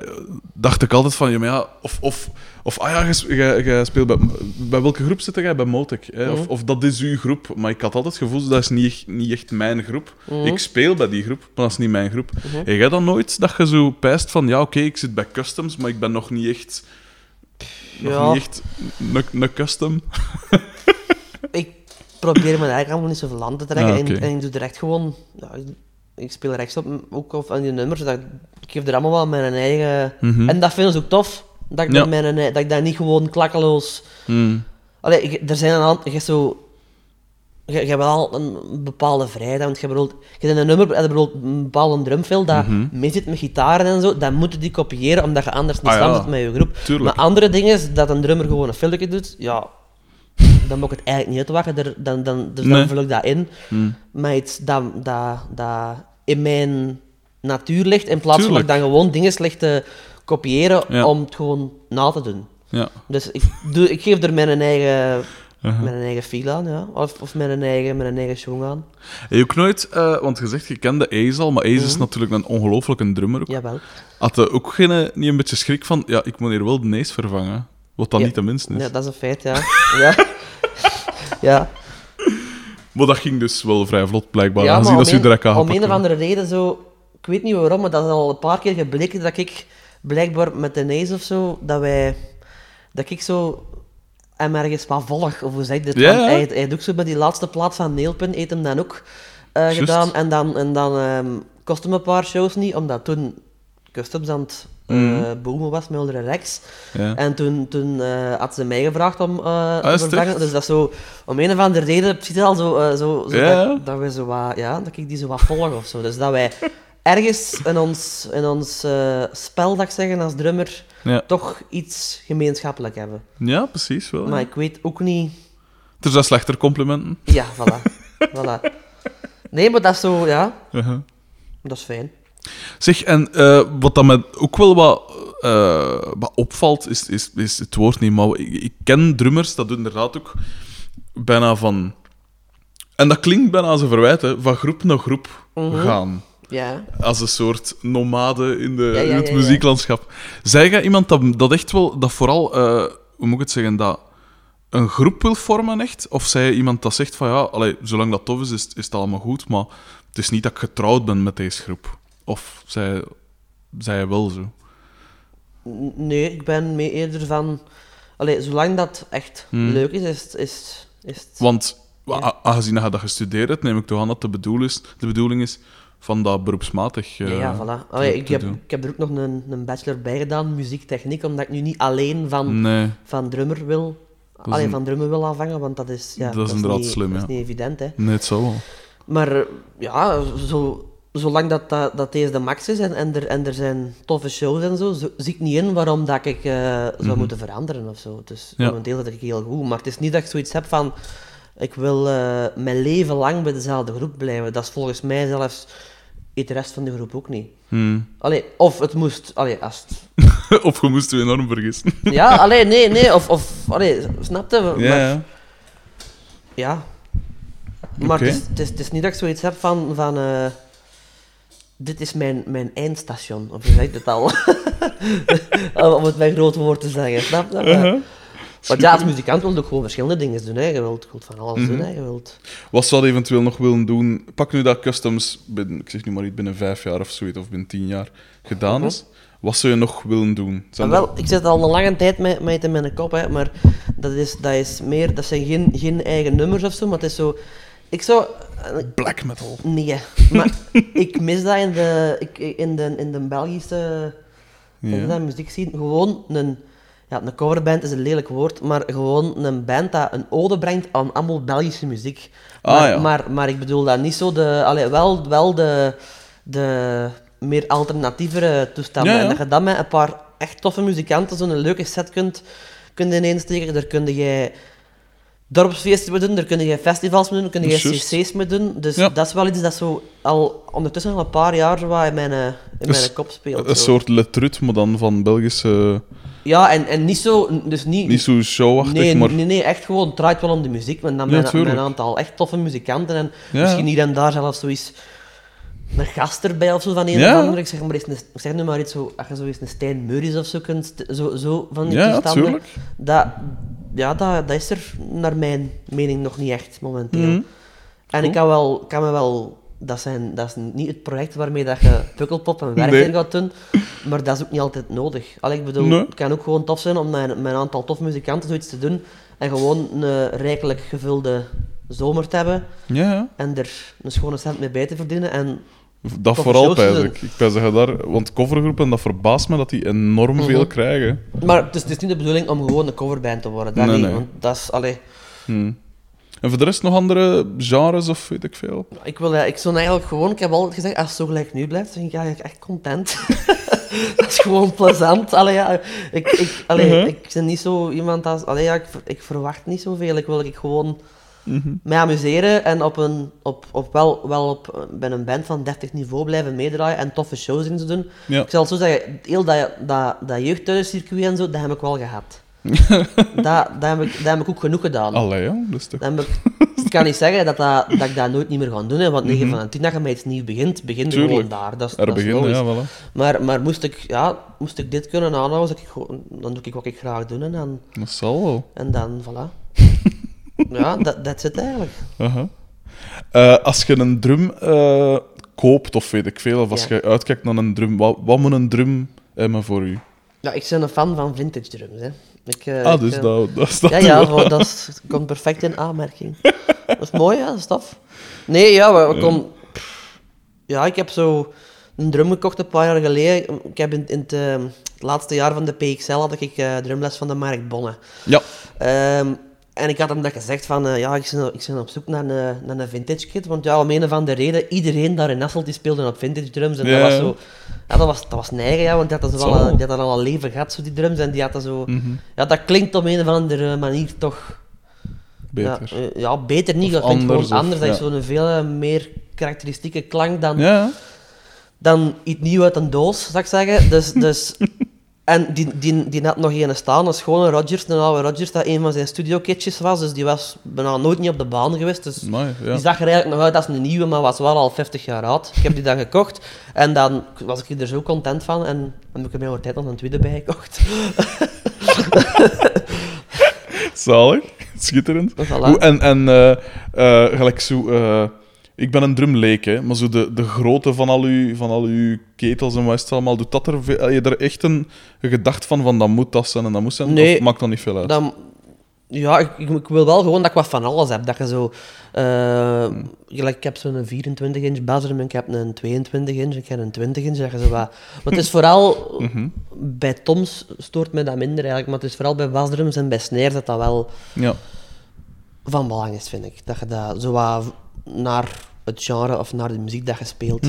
dacht ik altijd van... Ja, maar ja, of, of, of ah ja, je- je je speelt bij... Bij welke groep zit jij? Bij Motic. Hè? Of,
Mhm.
of dat is uw groep. Maar ik had altijd het gevoel, dat is niet echt, niet echt mijn groep.
Mhm.
Ik speel bij die groep, maar dat is niet mijn groep. Heb jij dan nooit dat je zo pijst van... Ja, oké, ik zit bij Customs, maar ik ben nog niet echt... Nog
Ja.
niet echt een- een custom.
ik probeer me eigenlijk allemaal niet zoveel aan te trekken.
Ah, oké.
en, en ik doe er echt gewoon... Ja, ik- ik speel rechtsop ook of aan die nummers. Dat, ik geef er allemaal wel mijn eigen... En dat vinden ze ook tof. Dat ik,
Mhm. Ja.
dat mijn, dat ik dat niet gewoon klakkeloos... Allee, ik- er zijn een aantal... Je hebt zo... Je, je hebt wel een bepaalde vrijheid, want je bedoelt, je hebt een nummer, je hebt bijvoorbeeld een bepaalde drumfill dat
Mhm.
mee zit met gitaren en zo, dan moeten die kopiëren, omdat je anders niet
Ah, ja.
samen zit met je groep.
Tuurlijk.
Maar andere dingen, is dat een drummer gewoon een filmpje doet, ja, dan moet ik het eigenlijk niet uitwachten. Er- Dan, dan, dus
Nee. Mhm.
dan vul ik dat in. Maar iets dat, dat, dat in mijn natuur ligt, in plaats van dat ik dan
Tuurlijk.
gewoon dingen slecht te kopiëren
Ja.
om het gewoon na te doen.
Ja.
Dus ik, doe, ik geef er mijn eigen,
Uh-huh.
mijn eigen feel aan, ja. of, of mijn eigen, mijn eigen song aan.
Heb je ook nooit... eh, want je zegt, je kende Ace al, maar Ace
Mhm.
is natuurlijk een ongelooflijke drummer ook.
Jawel.
Had je ook geen, eh, niet een beetje schrik van... Ja, ik moet hier wel de Ace vervangen. Wat dan
Ja.
niet de minste is.
Ja, dat is een feit, ja. ja. ja.
Maar dat ging dus wel vrij vlot, blijkbaar.
Ja,
aangezien
maar
dat ze
om,
je direct
een,
aan
om een of andere reden zo... Ik weet niet waarom, maar dat is al een paar keer gebleken dat ik blijkbaar met de neus of zo, dat wij... Dat ik zo hem ergens maar volg, of hoe zeg je dit?
Ja,
Want
ja.
Hij, hij doet ook zo bij die laatste plaat van Neelpin, eet hem dan ook eh,
Juist.
gedaan. En dan, en dan ehm, kost hem een paar shows niet, omdat toen Customs aan het eh,
Mhm.
boomen was met onder Rex.
Ja. Ah,
En toen, toen eh, had ze mij gevraagd om eh,
is
te
het
vervangen.
echt?
Dus dat is zo, om een of andere reden, het ziet er al zo, eh, zo, zo
Ja.
dat, dat we zo wat, ja, dat ik die zo wat volg of zo. Dus dat wij ergens in ons, in ons eh, spel, dat ik zeggen, als drummer,
Ja.
toch iets gemeenschappelijk hebben.
Ja, precies wel.
Maar
ja.
ik weet ook niet...
Er zijn slechter complimenten.
Ja, voilà. voilà. Nee, maar dat is zo, ja,
Uh-huh.
dat is fijn.
Zeg, en eh, wat dat me ook wel wat, eh, wat opvalt, is, is, is het woord niet, maar ik, ik ken drummers, dat doen inderdaad ook bijna van... En dat klinkt bijna als een verwijt, hè, van groep naar groep
Mhm.
gaan.
Ja.
Als een soort nomade in, de,
ja,
in het
ja, ja.
muzieklandschap. Zij jij iemand dat, dat echt wel, dat vooral, eh, hoe moet ik het zeggen, dat een groep wil vormen echt? Of zij jij iemand dat zegt van ja, allee, zolang dat tof is, is, is het allemaal goed, maar het is niet dat ik getrouwd ben met deze groep. Of zij, zij jij wel zo.
N- Nee, ik ben mee eerder van... Allee, zolang dat echt
Hmm.
leuk is, is, het- is, het- is het...
Want
Ja.
a- aangezien dat je dat gestudeerd hebt, neem ik toch aan dat de, bedoel is, de bedoeling is van dat beroepsmatig. eh,
Ja, ja, voilà. Allee,
te-
ik,
te
heb,
doen.
ik heb er ook nog een, een bachelor bij gedaan, muziektechniek, omdat ik nu niet alleen van,
Nee.
van drummer wil...
Mm. is
allee,
een-
van drummer wil afvangen, want dat is... Ja,
Dat is inderdaad
niet,
slim,
Dat
ja.
is niet evident, hè.
Nee, het zou wel.
Maar eh, ja, zo, zolang dat, dat, dat deze de max is en, en, er, en er zijn toffe shows en zo, zo- zie ik niet in waarom dat ik eh, zou moeten veranderen of zo. Dus
Mhm. Ja.
momenteel dat ik heel goed. Maar het is niet dat ik zoiets heb van. Ik wil eh, mijn leven lang bij dezelfde groep blijven. Dat is volgens mij zelfs eet de rest van de groep ook niet. Allee, of het moest. Allee, als het-
Hmm. of je moest je enorm vergissen.
ja, allee, nee, nee. Of, of allee, snapte? Maar-
Ja, ja.
Ja. Maar
Oké.
het, is, het, is, het is niet dat ik zoiets heb van... van eh, dit is mijn, mijn eindstation. Of je zegt het al. Om- Om het met groot woord te zeggen. Snap je?
Uh-huh.
Want ja, als muzikant wil je ook gewoon verschillende dingen doen. Hè. Je wilt, je wilt van
Mhm.
alles doen. Hè. Je wilt...
Wat zou je eventueel nog willen doen? Pak nu dat customs, binnen, ik zeg nu maar niet binnen vijf jaar of zoiets, of binnen tien jaar gedaan is. Wat zou je nog willen doen? Zijn
En
er-
Ah, wel, ik zit al een lange tijd met, met het in mijn kop, hè, maar dat, is, dat, is meer, dat zijn geen, geen eigen nummers of zo, maar het is zo... Ik zou...
Black metal.
Nee, maar ik mis dat in de, ik, in de, in de Belgische in
Ja.
de muziek zien. Gewoon een, ja, een coverband is een lelijk woord, maar gewoon een band dat een ode brengt aan allemaal Belgische muziek.
Ah,
maar,
ja.
maar, maar ik bedoel dat niet zo de, allee, wel, wel de, de meer alternatievere toestanden.
Ja, ja.
En dat je dan met een paar echt toffe muzikanten zo'n leuke set kunt, kunt ineensteken. Daar kun jij dorpsfeesten mee doen, daar kun je festivals mee doen, daar kun je
Juist.
cc's mee doen. Dus
Ja.
dat is wel iets dat zo al ondertussen al een paar jaar zo wat in mijn, eh, in
Dus
mijn kop speelt.
Een
zo.
soort letrut, maar dan van Belgische...
Ja, en, en niet zo... Dus niet,
Niet zo showachtig,
nee,
maar...
nee, nee, echt gewoon, het draait wel om de muziek. Maar dan
Ja,
met met
tuurlijk.
een aantal echt toffe muzikanten. En
Ja.
misschien hier en daar zelfs zoiets... Een gast erbij of zo van een
Ja.
of ander. Ik zeg, maar eens een, ik zeg nu maar iets, zo, als je zoiets een Stijn Murrays of zo kunt... st- Zo, zo van die
Ja, ja,
toestanden.
tuurlijk.
Dat, ja, dat, dat is er naar mijn mening nog niet echt momenteel.
Mhm.
En ik kan, wel, kan me wel... Dat, zijn, dat is niet het project waarmee dat je pukkelpop en werk
Nee.
in gaat doen. Maar dat is ook niet altijd nodig. Allee, ik bedoel,
Nee.
het kan ook gewoon tof zijn om met, met een aantal tof muzikanten zoiets te doen. En gewoon een rijkelijk gevulde zomer te hebben.
Ja, ja.
En er een schone cent mee bij te verdienen. En
Dat
Toch
vooral,
shows te
pijs
doen.
ik. Ik pijs dat je daar... Want covergroepen, dat verbaast me dat die enorm
Mhm.
veel krijgen.
Maar het is, het is niet de bedoeling om gewoon een coverband te worden. Dat
Nee,
niet,
nee.
want dat is... Allee,
Hm. En voor de rest nog andere genres of weet ik veel?
ik, wil, eh, ik zou eigenlijk gewoon... Ik heb altijd gezegd, als het zo gelijk nu blijft, dan ben ik eigenlijk echt content. dat is gewoon plezant. Allee, ja, ik, ik, allee,
Mhm.
ik ben niet zo iemand als... Allee, ja, ik, ver- ik verwacht niet zoveel. Ik wil ik gewoon
Mhm.
mij amuseren en op een, op, op wel, wel op, bij een band van 30 niveau blijven meedraaien en toffe shows in te doen.
Ja.
Ik zal het zo zeggen, heel dat, dat, dat jeugdthuiscircuit en zo, dat heb ik wel gehad. dat, dat, heb ik, dat heb ik ook genoeg gedaan.
Allee, ja, dat is toch...
Dan heb ik, ik kan niet zeggen dat, dat, dat ik dat nooit niet meer ga doen, hè, want 9 van de 10 dat je met iets nieuws begint, begin je
Mhm. Tuurlijk.
gewoon daar. Dat is,
Er
dat is
beginnen,
logisch.
ja, wel.
Maar, maar moest, ik, ja, moest ik dit kunnen aanhouden, zou ik gewoon- dan doe ik wat ik graag doe en dan,
Dat zal wel.
en dan voilà. ja, dat dat zit eigenlijk.
Aha. Uh-huh. Eh, als je een drum eh, koopt, of weet ik veel, of als
Ja.
je uitkijkt naar een drum, wat, wat moet een drum hebben voor u?
Ja, ik ben een fan van vintage drums. Hè. Ik, eh,
ah,
ik,
dus
eh,
dat, dat staat
Ja,
u
ja,
wel.
voor- dat is- het komt perfect in aanmerking. Dat is mooi, ja, staf. Nee, ja, we, we kon- pff, Ja, ik heb zo een drum gekocht een paar jaar geleden. Ik heb in, in het, eh, het laatste jaar van de PXL had ik eh, drumles van de Mark Bonne.
Ja,
Ehm, en ik had hem dat gezegd van, eh, ja, ik ben, ik ben op zoek naar een, naar een vintage kit. Want ja, om een of andere reden, iedereen daar in Hasselt die speelde op vintage drums. En
Ja.
dat was zo... Ja, dat was, dat was neigen, ja, want die had, dat zo al,
Zo. Mhm.
die had dat al een leven gehad, zo, die drums. En die had dat zo... Ja, dat klinkt op een of andere manier toch...
beter.
Ja, eh, ja, beter niet.
Of
dat klinkt
anders, of-
gewoon anders. Dat
ja.
is zo'n veel eh, meer karakteristieke klank dan,
Ja,
dan iets nieuw uit een doos, zou ik zeggen. Dus... dus en die, die, die had nog een staan, een schone Rogers, een oude Rogers, dat een van zijn studiokitjes was. Dus die was bijna nooit niet op de baan geweest. Dus
amai, ja.
die zag er eigenlijk nog uit als een nieuwe, maar was wel al 50 jaar oud. Ik heb die dan gekocht en dan was ik er zo content van. En dan heb ik er mij over tijd nog een tweede bij gekocht.
Zalig, schitterend.
Voilà.
Hoe- en en eh, eh, gelijk zo, eh, ik ben een drumleek, hè, maar zo de, de grootte van al, uw, van al uw ketels en wat is het allemaal, doet dat er, veel- heb je er echt een, een gedachte van, van dat moet dat zijn en dat moet zijn?
Nee.
Of maakt dat niet veel uit?
Dan, ja, ik, ik- ik wil wel gewoon dat ik wat van alles heb. Dat je zo... eh, gelijk, ik heb zo'n 24-inch basrum en ik heb een 22-inch en ik heb een 20-inch. Dat je zo wat... Maar het is vooral... Bij toms stoort me dat minder eigenlijk, maar het is vooral bij basdrums en bij snares dat dat wel...
Ja.
van belang is, vind ik. Dat je dat zo wat naar het genre of naar de muziek dat je speelt.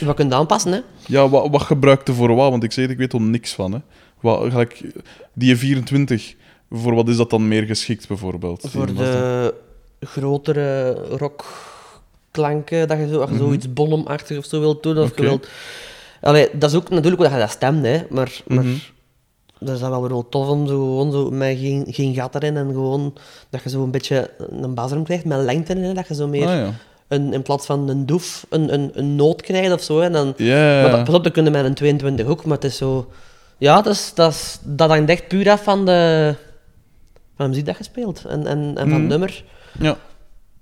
Wat kunt aanpassen, hè?
Ja, wat, wat gebruikte voor wat? Want ik zeg het, ik weet er niks van. Hè. Wat, gelijk, die 24, voor wat is dat dan meer geschikt, bijvoorbeeld? Die
Voor
was dan-
de grotere rockklanken, dat je, zo, als je zoiets bonhomachtig of zo wilt doen. Of
Mhm. Oké.
je wilt... Allee, dat is ook natuurlijk hoe dat je dat stemt, hè? Maar,
Mhm.
maar dat is dan wel weer wel tof om zo, gewoon zo met geen, geen gat erin en gewoon dat je zo een beetje een basrum krijgt met lengte erin. Dat je zo meer
Ah, ja.
een, in plaats van een doef een, een, een noot krijgt of zo. hè. En dan,
Ja,
Maar dat, pas op, dat kunnen met een 22 ook, maar het is zo... Ja, dat, is, dat, is, dat hangt echt puur af van de, van de muziek dat je speelt en, en, en van
Mhm.
het nummer.
ja.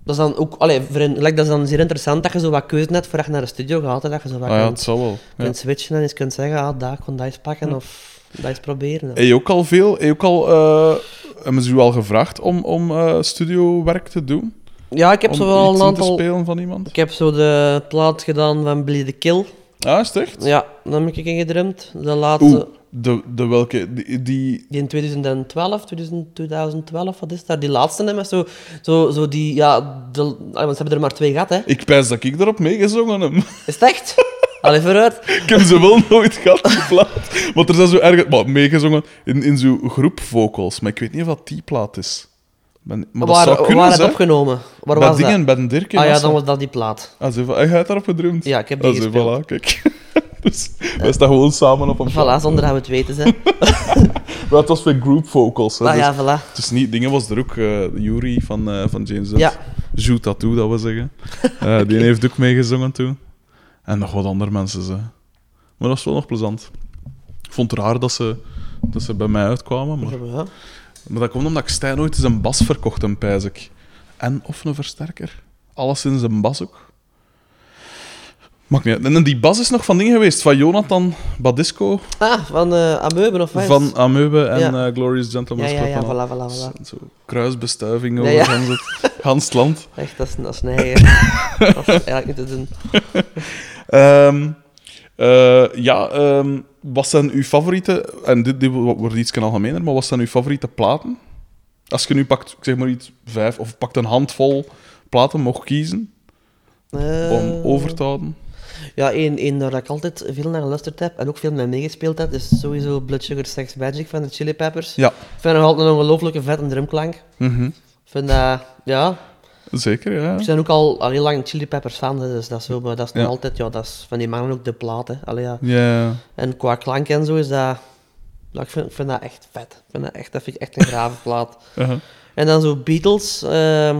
Dat is dan ook... Allee, voor een- like, dat is dan zeer interessant dat je zo wat keuze hebt voor als je naar de studio gaat en dat je zo wat
Ah, ja,
kunt,
het zal wel. Ja. Mhm.
kunt switchen en eens kunt zeggen, ah, daar, ik kon dat eens pakken of dat eens proberen.
Heb je ook al veel, heb je ook al, eh, hebben ze u al gevraagd om, om eh, studiowerk te doen?
Ja, ik heb
om
zo wel
iets
een
in
aantal...
te spelen van iemand?
Ik heb zo de plaat gedaan van Bleed the Kill.
Ja, Ah, is het echt?
Ja, daar heb ik in gedrumd. De laatste...
Oeh, de, de welke? Die, die-
Die in 2012, 2000, 2012, wat is daar? Die laatste, hè, met zo, zo, zo die, ja, de, ah, want ze hebben er maar twee gehad, hè.
ik pijs dat ik erop meegezongen heb.
Is het echt? Allee, vooruit.
Ik heb ze wel nooit gehad, die plaat. Want er zijn zo erg... Maar meegezongen in, in zo'n groep vocals. Maar ik weet niet wat die plaat is. Ben- maar dat
waar
zou kunnen,
waar het
zijn.
opgenomen? Waar
Bij
was
dingen,
dat?
bij een Dirk.
Ah ja, dan was dat die plaat.
Ah, ze- hij heeft daarop gedrumd.
Ja, ik heb die
ah, ze-
gespeeld.
Voilà, kijk. Dus wij staan gewoon samen op een
Voilà, zonder dat we het weten, hè.
Maar het was weer group vocals. Hè,
Ah
dus
ja, voilà.
Het is niet... Dingen was er ook. eh Yuri van, eh, van James
Ja.
Hetfield. Jou Tattoo, dat we zeggen. Eh, Die heeft ook meegezongen toen. En nog wat andere mensen. Ze. Maar dat was wel nog plezant. Ik vond het raar dat ze, dat ze bij mij uitkwamen. Maar,
Ja.
maar dat komt omdat ik Stijn ooit eens een bas verkocht, een pijs ik. En of een versterker. Alles in zijn bas ook. Maakt niet uit. En die bas is nog van ding geweest. Van Jonathan Badisco.
Ah, van eh Ameuben of wat? is het?
Van Ameuben en
Ja.
eh, Glorious Gentleman's
Ja, ja,
Club
ja,
en al.
voilà, voilà,
Zo-
voilà.
Zo kruisbestuiving over
Ja, ja.
Gans, het, gans het land.
Echt, dat is, dat is neigen. dat is eigenlijk niet te doen.
Ehm, eh, ja, ehm, wat zijn uw favoriete... En dit, dit wordt iets algemener, maar wat zijn uw favoriete platen? Als je nu pakt, ik zeg maar iets, vijf, of pakt een handvol platen, mocht kiezen
Eh,
om over te houden.
Ja, één, één waar ik altijd veel naar geluisterd heb en ook veel mee meegespeeld heb, is sowieso Blood Sugar Sex Magic van de Chili Peppers.
Ja,
Ik vind nog altijd een ongelooflijke vette drumklank.
mhm.
Ik vind dat, ja,
zeker, ja.
ik ben ook al, al heel lang Chili Peppers fan, hè, dus dat is, zo, maar dat is nog
Ja.
altijd, ja, dat is van die mannen ook de plaat, hè. Allee, ja.
Ja,
En qua klank en zo is dat, ja, ik, vind, ik vind dat echt vet. Ik vind dat echt, dat vind ik echt een grave plaat.
aha.
En dan zo Beatles, ehm,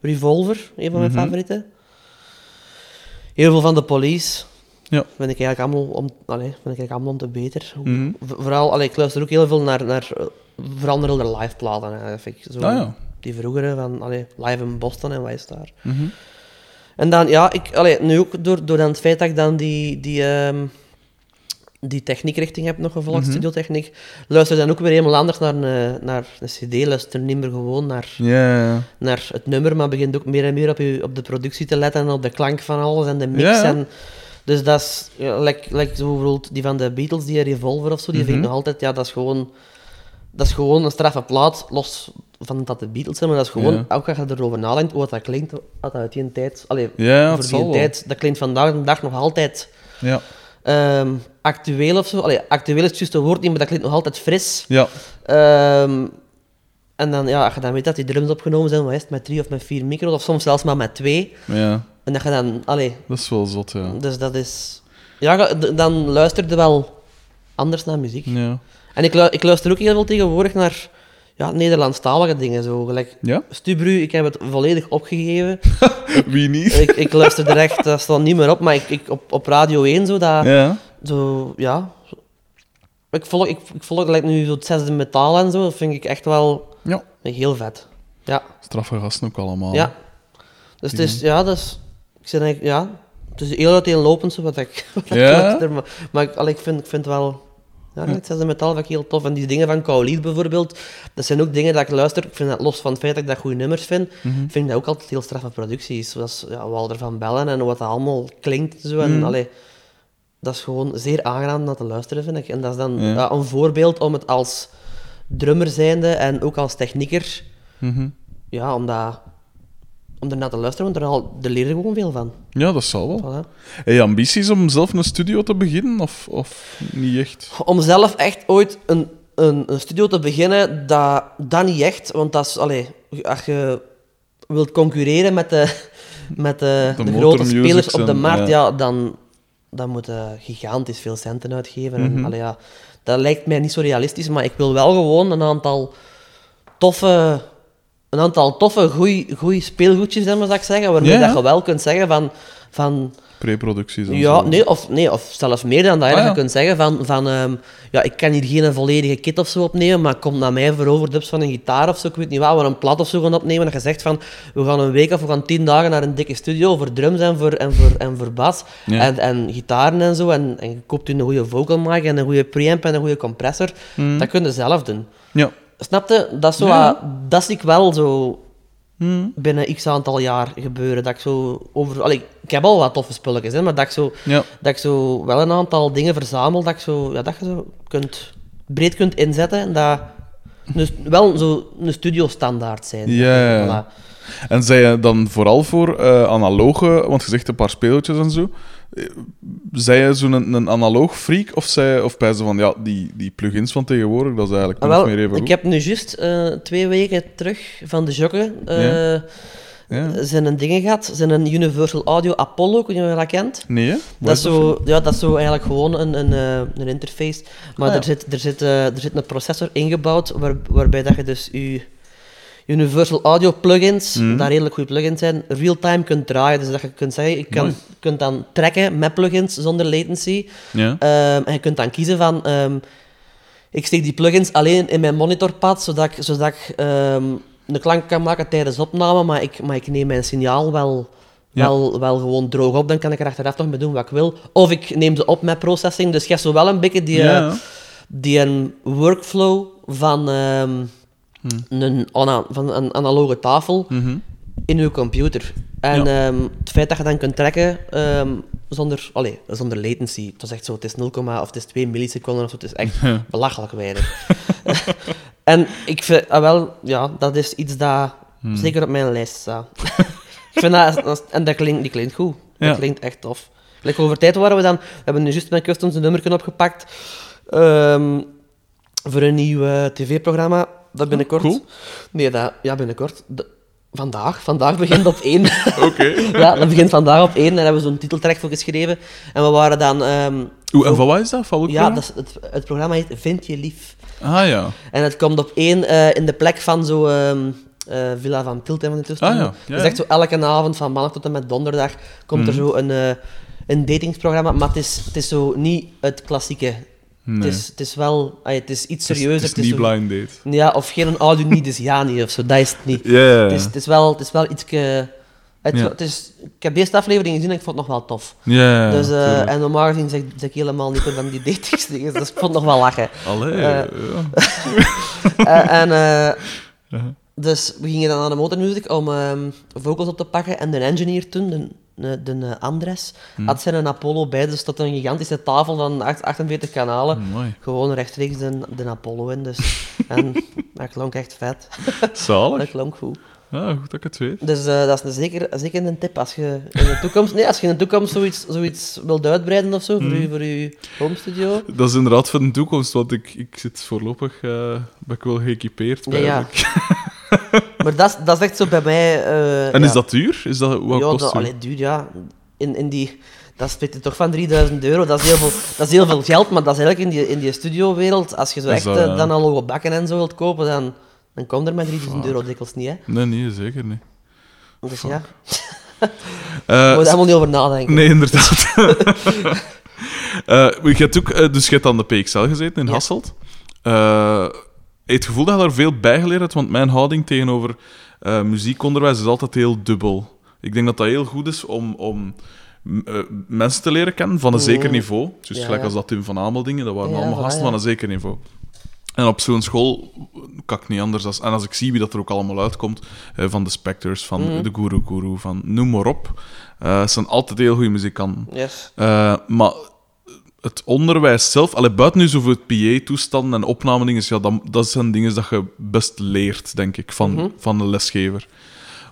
Revolver, een van mijn
Mhm.
favorieten. Heel veel van de Police.
Ja.
Vind ik eigenlijk allemaal om, allee, vind ik eigenlijk allemaal om te beter. Hoe-
Mhm.
v- Vooral, allee, ik luister ook heel veel naar, naar eh, veranderende live platen. Vind ik zo.
Ah ja.
die vroegere van allee, Live in Boston en wat is daar. En dan, ja, ik, allee, nu ook door, door dan het feit dat ik dan die, die, ehm, die techniekrichting heb nog gevolgd, studiotechniek, luister dan ook weer helemaal anders naar een, naar een cd, luister niet meer gewoon naar
Ja, ja.
naar het nummer, maar begint ook meer en meer op, je, op de productie te letten en op de klank van alles en de mix.
Ja, ja.
En, dus dat is, ja, like, like zo bijvoorbeeld die van de Beatles, die Revolver of zo, die
Mhm.
vind ik nog altijd, ja, dat is gewoon, dat is gewoon een straffe plaat, los van dat de Beatles zijn, maar dat is gewoon,
Ja.
ook als je erover nadenkt, hoe dat klinkt, wat dat uit die tijd, allee,
Ja,
voor
het zal
die
wel.
tijd, dat klinkt vandaag de dag nog altijd
Ja.
ehm, actueel of zo. Allee, actueel is het juiste woord niet, maar dat klinkt nog altijd fris.
Ja.
Ehm, en dan, ja, als je dan weet dat die drums opgenomen zijn, wat is het, met drie of met vier micro's, of soms zelfs maar met twee.
ja,
En dat je dan, allee,
dat is wel zot, ja.
dus dat is... Ja, ga- d- dan luisterde wel anders naar muziek.
Ja.
En ik, lu- ik luister ook heel veel tegenwoordig naar ja, Nederlandstalige dingen, zo. Gelijk
Ja?
Stubru, ik heb het volledig opgegeven.
Wie niet?
ik, ik luister er echt, dat staat niet meer op, maar ik, ik, op, op Radio 1, zo, dat...
Ja.
Zo, ja. Ik volg, ik, ik volg like, nu zo het zesde metaal en zo, dat vind ik echt wel
Ja.
heel vet. Ja,
Straffe gasten ook allemaal.
ja. Dus het is, ja, dat is, ik zeg eigenlijk, ja, het is heel uiteenlopend zo wat ik, wat ik
Ja?
luister, maar, maar ik, allee, ik vind, ik vind wel, ja,
Hm.
het zesde metaal vind ik heel tof. En die dingen van Kaulied bijvoorbeeld, dat zijn ook dingen dat ik luister, ik vind dat, los van het feit dat ik dat goede nummers vind,
Mhm.
vind ik dat ook altijd heel straffe producties, zoals ja, Walder van Bellen en wat dat allemaal klinkt en zo,
Mhm.
en allee, dat is gewoon zeer aangenaam om naar te luisteren, vind ik. En dat is dan
Ja.
ja, een voorbeeld om het als drummer zijnde en ook als technieker,
Mhm.
ja, om, dat, om ernaar te luisteren, want er, al, er leer je gewoon veel van.
ja, dat zal wel.
Voilà.
Heb je ambities om zelf een studio te beginnen of, of niet echt?
Om zelf echt ooit een, een, een studio te beginnen, dat, dat niet echt. Want dat is, allee, als je wilt concurreren met de, met de,
De
de
motor
grote spelers
musics
op de
en-
markt,
ja.
ja. dan, dan moet je gigantisch veel centen uitgeven.
Mhm.
En, allee, ja, dat lijkt mij niet zo realistisch, maar ik wil wel gewoon een aantal toffe, een aantal toffe, goede speelgoedjes, zeg maar, zou ik zeggen, waarmee
Ja, ja.
dat je wel kunt zeggen van... van
Pre-producties en
Ja,
zo.
nee of, nee, of zelfs meer dan dat. hè.
Ah,
Dat
ja.
Je kunt zeggen van, van ehm, ja, ik kan hier geen volledige kit of zo opnemen, maar kom naar mij voor overdubs van een gitaar of zo, ik weet niet wat, we een plat of zo gaan opnemen. En je zegt van, we gaan een week of we gaan tien dagen naar een dikke studio voor drums en voor, en voor, en voor bas
Ja.
en, en gitaren en zo. En, en je koopt u een goede vocal mic en een goede preamp en een goede compressor. Dat kun je zelf doen.
Ja.
Snapte? Dat, is zo,
Mm. Ja. Mm.
wat- dat zie ik wel zo binnen x aantal jaar gebeuren. Dat ik zo over... Allee, ik heb al wat toffe spulletjes, hè, maar dat ik, zo,
Ja.
dat ik zo wel een aantal dingen verzamel dat, ik zo, ja, dat je zo kunt, breed kunt inzetten. En dat dus wel zo een studio-standaard zijn.
Ja, ja, ja.
Voilà.
En zij je dan vooral voor eh, analoge, want je zegt een paar speeltjes en zo. Eh, Zij je zo'n een, een analoog freak of, zij, of bij ze van ja, die, die plugins van tegenwoordig, dat is eigenlijk
Ah,
nog meer
wel,
even
ik
goed.
heb nu juist eh, twee weken terug van de jokken eh,
Ja.
zijn een dingen gehad. Zijn een Universal Audio Apollo, kun je dat kent?
Nee, hè?
Dat is, zo, ja, dat is zo eigenlijk gewoon een, een, eh, een interface. Maar
Ah, ja.
er, zit, er, zit, eh, er zit een processor ingebouwd waar, waarbij dat je dus je Universal Audio plugins,
Mhm.
daar redelijk goede plugins zijn, real-time kunt draaien. Dus dat je kunt zeggen, je kan,
Mooi.
kunt dan trekken met plugins zonder latency.
Ja.
Ehm, en je kunt dan kiezen van... ehm, ik steek die plugins alleen in mijn monitorpad, zodat ik, zodat ik ehm, een klank kan maken tijdens opname, maar ik, maar ik neem mijn signaal wel,
Ja.
wel, wel gewoon droog op. Dan kan ik er achteraf nog mee doen wat ik wil. Of ik neem ze op met processing. Dus je hebt zo wel een beetje die,
Ja,
eh,
ja.
die een workflow van, ehm, een, ana- van een analoge tafel
Mhm.
in je computer. En ehm, het feit dat je dan kunt trekken ehm, zonder, allee, zonder latency. Het is echt zo, het is 0, of het is 2 milliseconden of zo. Het is echt belachelijk weinig. en ik vind, ah, wel, ja, dat is iets dat
Hmm.
zeker op mijn lijst staat. ik vind dat, dat is- en dat klinkt, die klinkt goed.
Ja.
Dat klinkt echt tof. Like, over tijd waren we dan, we hebben nu juist met Customs een nummerken opgepakt ehm, voor een nieuw eh, tv-programma. Dat binnenkort.
cool.
Nee, dat, ja, binnenkort. De- vandaag. Vandaag begint op één.
Oké.
ja, dat begint vandaag op één. En daar hebben we zo'n titeltrack voor geschreven. En we waren dan... ehm,
Oeh, en van waar is dat? Van welk
ja,
programma?
dat is het, het programma heet Vind je lief.
Ah ja.
En het komt op één eh, in de plek van zo ehm, eh, Villa van Tilt en van de toestand.
Ah, ja. Ja,
dus
ja. Mhm.
echt zo elke avond, van maandag tot en met donderdag, komt er zo een, eh, een datingsprogramma. Maar het is, het is zo niet het klassieke
Nee.
Het, is, het is wel... ay, het is iets
Het is-
serieuzer.
Het is niet
zo-
blind date.
Ja, of geen een audio niet, dus ja niet of zo. Dat is het niet.
Ja, ja,
Het, is, het, is wel, het is wel iets... Het,
Ja.
het is, ik heb deze aflevering gezien en ik vond het nog wel tof.
ja.
dus, eh,
tuurlijk.
en normaal gezien zeg, zeg ik helemaal niet meer van die datings dingen, dus ik vond het nog wel lachen.
Allee,
eh,
ja.
Eh, en, eh,
Ja.
dus we gingen dan naar de motormuziek om ehm, vocals op te pakken. En de engineer toen, de, de, de eh, Andres,
Hmm.
had zijn een Apollo bij. Dus dat een gigantische tafel van acht- 48 kanalen.
Mooi.
Gewoon rechtstreeks de, de Apollo in. Dus. En dat klonk echt vet. Dat
Zalig.
klonk goed.
Ja, goed dat ik het weet.
Dus eh, dat is een zeker, zeker een tip als je in de toekomst, nee, als je in de toekomst zoiets, zoiets wilt uitbreiden of zo voor,
Hmm.
je, voor je home studio.
Dat is inderdaad voor de toekomst, want ik, ik zit voorlopig eh, ben ik wel geëquipeerd.
Ja, ja.
eigenlijk.
Maar dat is, dat is echt zo bij mij. eh,
En
ja.
is dat duur? Is dat, wat
ja,
kost
dat,
het?
allee, duur, ja. In, in die, dat spreekt er toch van 3000 euro. Dat is heel veel, dat is heel veel geld, maar dat is eigenlijk in die, in die studiowereld. Als je zo
Dat
echt
is dat,
eh,
ja.
dan al logo bakken en zo wilt kopen, dan, dan komt er met 3000 euro dikwijls niet. Hè.
Nee, nee, zeker niet.
Dus ja,
Eh,
daar moet je helemaal niet over nadenken.
nee, inderdaad. Eh, maar je hebt ook, eh, dus je hebt aan de PXL gezeten in
Ja.
Hasselt. Eh, heb je het gevoel dat je daar veel bij geleerd hebt? Want mijn houding tegenover eh, muziekonderwijs is altijd heel dubbel. Ik denk dat dat heel goed is om, om m- eh, mensen te leren kennen van een zeker
Mm.
niveau. Dus
Ja,
gelijk
ja.
als dat Tim van Ameldingen, dat waren
Ja,
allemaal
voilà,
gasten
ja.
van een zeker niveau. En op zo'n school kan ik niet anders. Als, en als ik zie wie dat er ook allemaal uitkomt, eh, van de Specters, van
Mhm.
de Guru Guru, van noem maar op, eh, het zijn altijd heel goede muzikanten.
Yes.
Eh, maar het onderwijs zelf, allee, buiten nu zoveel PA-toestanden en opnamedingen, ja, dat, dat zijn dingen dat je best leert, denk ik, van,
Mhm.
van de lesgever.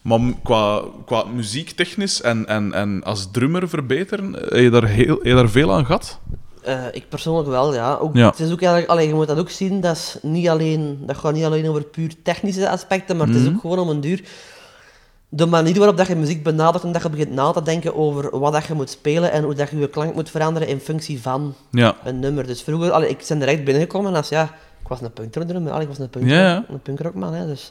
Maar m- qua, qua muziektechnisch en, en, en als drummer verbeteren, eh, heb je daar, heel, heb je daar veel aan gehad?
Eh, ik persoonlijk wel, ja. Ook,
Ja.
Het is ook eigenlijk, allee, je moet dat ook zien, dat, is niet alleen, dat gaat niet alleen over puur technische aspecten, maar het is
Mhm.
ook gewoon om een duur... De manier waarop dat je muziek benadert en dat je begint na te denken over wat dat je moet spelen en hoe dat je je klank moet veranderen in functie van
Ja.
een nummer. Dus vroeger, allee, ik ben er echt binnengekomen als, ja, ik was een punkdrummer, allee, ik was een, punk,
Ja, ja.
een punkrockman, hè, dus...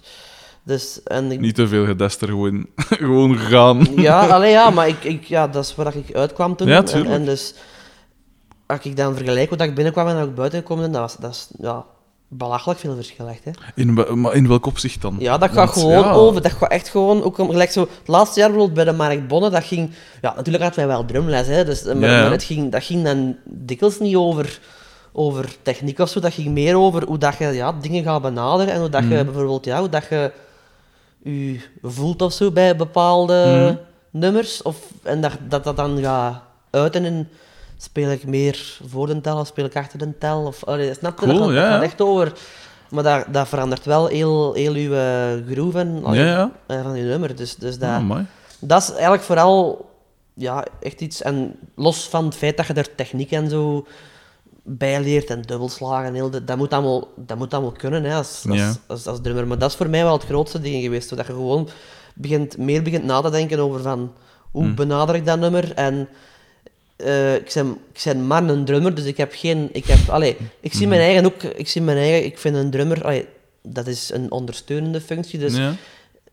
Dus, en ik,
Niet te veel gedester, gewoon, gewoon gegaan.
ja, alleen ja, maar ik, ik, ja, dat is waar ik uitkwam toen.
Ja,
en,
tuurlijk.
en dus, als ik dan vergelijk hoe dat ik binnenkwam en hoe ik buiten gekomen ben, dat, was, dat is ja, belachelijk veel verschil echt. Hè.
In, wel- maar in welk opzicht dan?
Ja, dat
Want,
gaat gewoon
ja,
over. Dat gaat echt gewoon, ook om, gelijk zo, het laatste jaar bijvoorbeeld bij de Mark Bonne, dat ging, ja, natuurlijk hadden wij wel drumles, hè, dus, eh, maar,
Ja, ja.
maar het ging, dat ging dan dikwijls niet over, over techniek of zo, dat ging meer over hoe dat je ja, dingen gaat benaderen en hoe dat je
Mhm.
bijvoorbeeld, ja, hoe dat je je voelt of zo bij bepaalde
Mhm.
nummers, of, en dat, dat dat dan gaat uiten in, speel ik meer voor de tel of speel ik achter de tel, of, allee, snap je,
Cool,
dat gaat,
ja,
dat gaat
ja.
echt over... Maar dat, dat verandert wel heel, heel uw eh, groove en
Ja, ja.
eh, van je nummer. Dus, dus dat,
Ah, amai.
dat is eigenlijk vooral ja, echt iets. En los van het feit dat je er techniek en zo bij leert en dubbelslagen, en heel de- dat, moet allemaal, dat moet allemaal kunnen hè, als, als,
Ja.
als, als drummer. Maar dat is voor mij wel het grootste ding geweest. Zodat je gewoon begint, meer begint na te denken over van hoe
Hmm.
benader ik dat nummer. En eh, ik, ben, ik ben maar een drummer, dus ik heb geen. Ik, heb, allee, ik
Hmm.
zie mijn eigen ook. Ik zie mijn eigen. Ik vind een drummer. allee, dat is een ondersteunende functie. Dus
ja.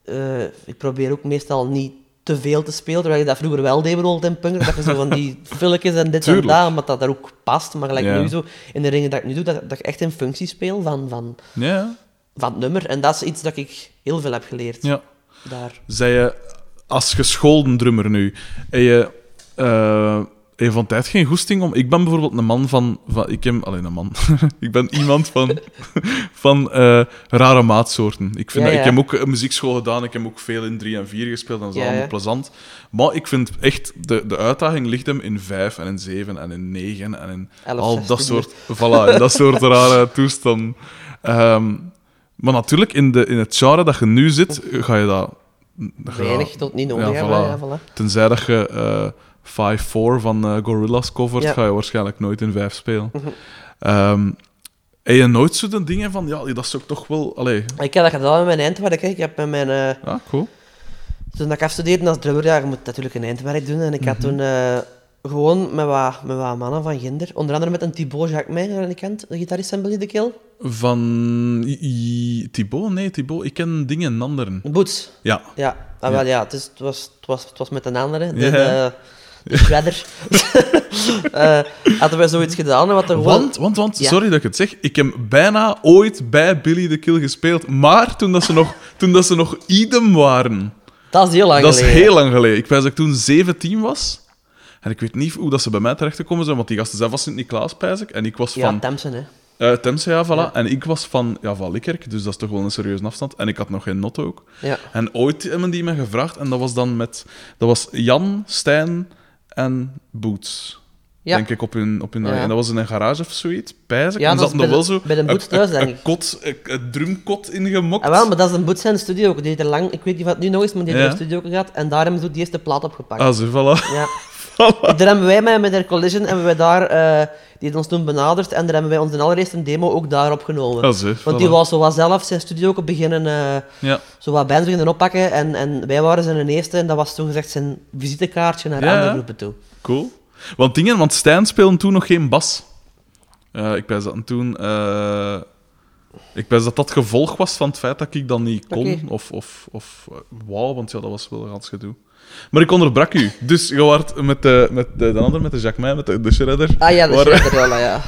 eh, ik probeer ook meestal niet te veel te spelen, terwijl je dat vroeger wel deed bijvoorbeeld in punk, dat je zo van die filmpjes en dit
Tuurlijk.
en dat, omdat dat daar ook past. Maar gelijk
Ja.
nu zo, in de ringen dat ik nu doe, dat, dat ik echt in functie speel van, van,
ja.
van het nummer. En dat is iets dat ik heel veel heb geleerd
ja.
daar.
Zij je, als geschoolde drummer nu, en je, eh, heb je van tijd geen goesting om... Ik ben bijvoorbeeld een man van... van ik heb... Alleen een man. ik ben iemand van, van eh, rare maatsoorten. Ik, vind
Ja,
dat, ik
ja.
heb ook een muziekschool gedaan, ik heb ook veel in 3 en 4 gespeeld, en dat is
Ja,
allemaal
ja.
plezant. Maar ik vind echt... De, de uitdaging ligt hem in 5 en in 7 en in 9 en in
Elf,
al dat
zestien.
soort, voilà, dat soort rare toestanden. Ehm, maar natuurlijk, in, de, in het genre dat je nu zit, ga je dat... ga-
Weinig tot niet nodig
Ja,
hebben.
voilà.
Ja, voilà.
Tenzij dat je eh 5-4 van eh, Gorillaz covert,
Ja. Mhm.
ga je waarschijnlijk nooit in 5 spelen. Ehm heb je nooit zo'n dingen van, ja, dat is ook toch wel... Allee,
Ik heb dat gedaan met mijn eindwerk. hè. Ik heb met mijn... eh,
ja, cool.
Toen ik afstudeerde als drummer, ja, je moet natuurlijk een eindwerk doen. En ik
Mhm.
had toen eh, gewoon met wat, met wat mannen van Ginder, onder andere met een Thibaut Jacquemin, dat je kent, de gitarist en Billy de Kill.
Van I- I- Thibaut? Nee, Thibaut. Ik ken dingen en anderen.
Boots.
Ja.
Ja, ah, wel, ja. het, is, het, was, het, was, het was met een andere.
Ja.
Dus, eh, de shredder. Eh, hadden wij zoiets gedaan en wat er gewoon...
Want, want, want
Ja.
sorry dat ik het zeg, ik heb bijna ooit bij Billy the Kill gespeeld, maar toen dat ze nog, toen dat ze nog idem waren.
Dat is heel lang
dat
geleden.
is heel lang geleden. Ik weet dat ik toen 17 was. En ik weet niet hoe dat ze bij mij terecht gekomen zijn, want die gasten zijn van Sint-Niklaas, pijs ik. En ik was
Ja,
van...
Tamsen, hè.
eh Temse, ja, voilà. En ik was van ja, van Likkerk, dus dat is toch wel een serieuze afstand. En ik had nog geen not ook.
Ja.
En ooit hebben die mij gevraagd, en dat was dan met... Dat was Jan, Stijn en Boots.
Ja.
Denk ik, op hun... Op hun
Ja.
En dat was in een garage of zoiets, pijs ik.
Ja,
en
dat
zat
is
nog
bij
wel
de-
zo...
bij de
een-
Boots
een-
thuis, denk
Een,
ik.
kot, een, een drumkot ingemokt.
Ah, wel, maar dat is een boet zijn studio ook. Die heeft er lang, ik weet niet wat het nu nog is, maar die heeft
Ja.
er een studio ook gehad. En daar hebben ze die eerste plaat opgepakt.
Ah, zo, voilà.
Ja. Daar hebben wij met, met haar collision hebben wij daar, eh, die heeft ons toen benaderd. En daar hebben wij onze allereerste demo ook daar opgenomen.
Ah, zo,
Want
voilà.
die was zo wat zelf zijn studio ook beginnen, eh,
Ja.
zo wat bands beginnen oppakken. En, en wij waren zijn eerste en dat was toen gezegd zijn visitekaartje naar
Ja,
andere
ja.
groepen toe.
Cool. Want dingen, want Stijn speelde toen nog geen bas. Eh, ik pijs dat en toen. eh, ik pijs dat dat gevolg was van het feit dat ik dat niet kon.
Oké.
Of, of, of eh, wauw, want ja, dat was wel een gans gedoe. Maar ik onderbrak u. Dus je waart met de, met de, de ander, met de Jacquemin, met de, de Shredder.
Ah ja, dat
Waar-
is wel, ja.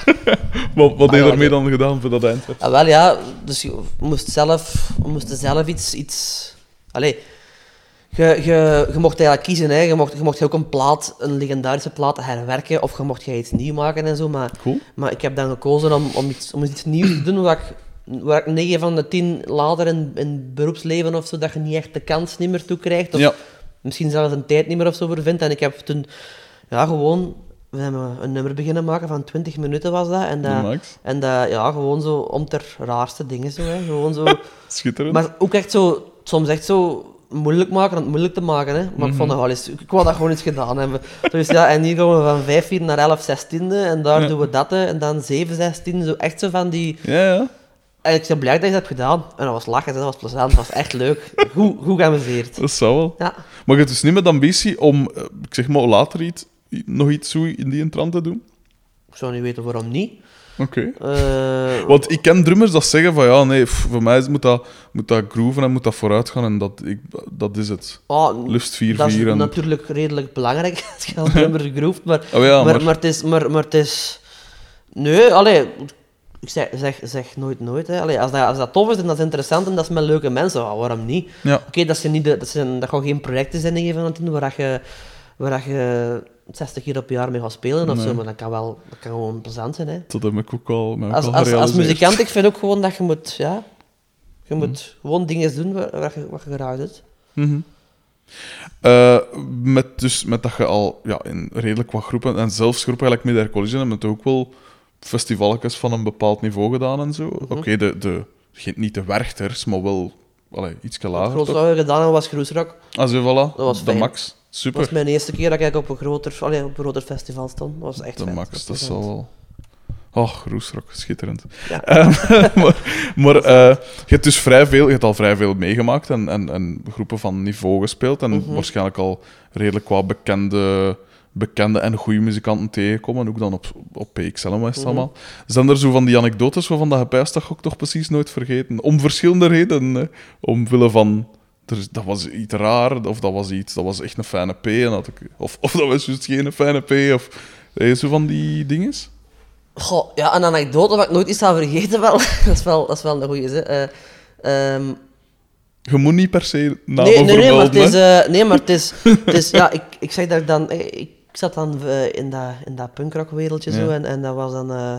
Wat, wat
Ah,
heb je
ja,
ermee dan gedaan voor dat eindwerk?
Ah, wel ja, dus je moest zelf, we moesten zelf iets. iets... Allee, je, je, je mocht eigenlijk kiezen, hè. Je, mocht, je mocht ook een plaat, een legendarische plaat herwerken of je mocht jij iets nieuw maken en zo. Maar,
Cool.
maar ik heb dan gekozen om, om, iets, om iets nieuws te doen waar ik, waar ik 9 van de 10 later in, in het beroepsleven of zo, dat je niet echt de kans niet meer toe krijgt. Of
Ja.
misschien zelfs een tijd niet meer of zo voor vindt. En ik heb toen ja, gewoon we hebben een nummer beginnen maken van 20 minuten was dat. En dat,
De max.
en dat, ja, gewoon zo om ter raarste dingen zo, hè. Gewoon zo.
Schitterend.
maar ook echt zo, soms echt zo moeilijk maken, om het moeilijk te maken, hè. Maar ik
Mhm.
vond dat wel eens, ik wou dat gewoon eens gedaan hebben. Dus ja, en hier gaan we van 5 4 naar 11 16 en daar
Ja.
doen we dat, hè. En dan 7 16 zo echt zo van die...
Ja, ja.
En ik ben blij dat ik dat heb gedaan. En dat was lachen, hè. dat was plezant, dat was echt leuk. Goed, goed geamuseerd.
Dat zou wel.
Ja.
Maar je hebt dus niet met ambitie om, eh, ik zeg maar, later iets, nog iets zo in die trant te doen?
Ik zou niet weten waarom niet.
Oké.
Eh,
Want ik ken drummers dat zeggen van ja, nee, pff, voor mij is- moet dat, moet dat grooven en moet dat vooruit gaan en dat, ik, dat is het.
ah,
Lust 4-4
Dat is
en...
natuurlijk redelijk belangrijk als je als drummer groeft, maar,
Oh ja,
maar,
maar-
maar... het is, maar, maar het is... Nee, allee, ik zeg, zeg, zeg nooit nooit. Hè. Allee, als, dat, als dat tof is en dat is interessant en dat is met leuke mensen, ja, waarom niet? Oké,
Ja,
dat, zijn niet de- dat, zijn, dat gaan geen projecten zijn in van waar dat je, waar dat je 60 keer op jaar mee gaat spelen of
Nee.
zo, maar dat kan wel dat kan gewoon plezant zijn. Hè.
dat heb ik ook al, mij ook
Als,
al
als, als
gerealiseerd.
muzikant, ik vind ook gewoon dat je moet, ja, je moet gewoon dingen doen waar, waar je, waar je graag doet.
Mhm. Eh, met, dus, met dat je al ja, in redelijk wat groepen, en zelfs groepen gelijk Midair Collision, hebben het ook wel festivalletjes van een bepaald niveau gedaan en zo.
Mhm.
Oké, de, de, geen- niet de Werchters, maar wel allee, iets
Het
lager.
grootste
toch?
wat we gedaan hebben was groesrock.
Ah, zo, voilà.
was
de
fijn.
max.
Dat was
Super.
mijn eerste keer dat ik op een groter, allee, op een groter festival stond. Dat was echt
De
vet.
max, dat
was
is
vet.
wel... Oh, roesrok, schitterend.
Ja.
Ehm, maar maar eh, je hebt dus vrij veel, je hebt al vrij veel meegemaakt en, en, en groepen van niveau gespeeld en
Mhm.
waarschijnlijk al redelijk qua bekende, bekende en goede muzikanten tegenkomen, ook dan op, op PXL en wat
Mhm.
is het allemaal. Zijn er zo van die anekdotes waarvan dat je pijst dat je ook toch precies nooit vergeten? Om verschillende redenen. hè. Omwille van, er, is- dat was iets raar, of dat was iets, dat was echt een fijne P, en dat ik, of, of dat was juist geen fijne P, of... eh, Zo van die dinges?
Goh, ja, een anekdote wat ik nooit iets zou vergeten, wel. dat, is wel dat is wel een goeie. Hè. Eh, ehm,
Je moet niet per se
nee,
namen
nee, nee, maar
vermelden,
het is,
hè.
eh, nee, maar het is... Het is ja, ik, ik zeg dat ik dan... eh, Ik, zat dan eh, in dat, in dat punkrockwereldje zo
Ja.
en, en dat was dan... eh,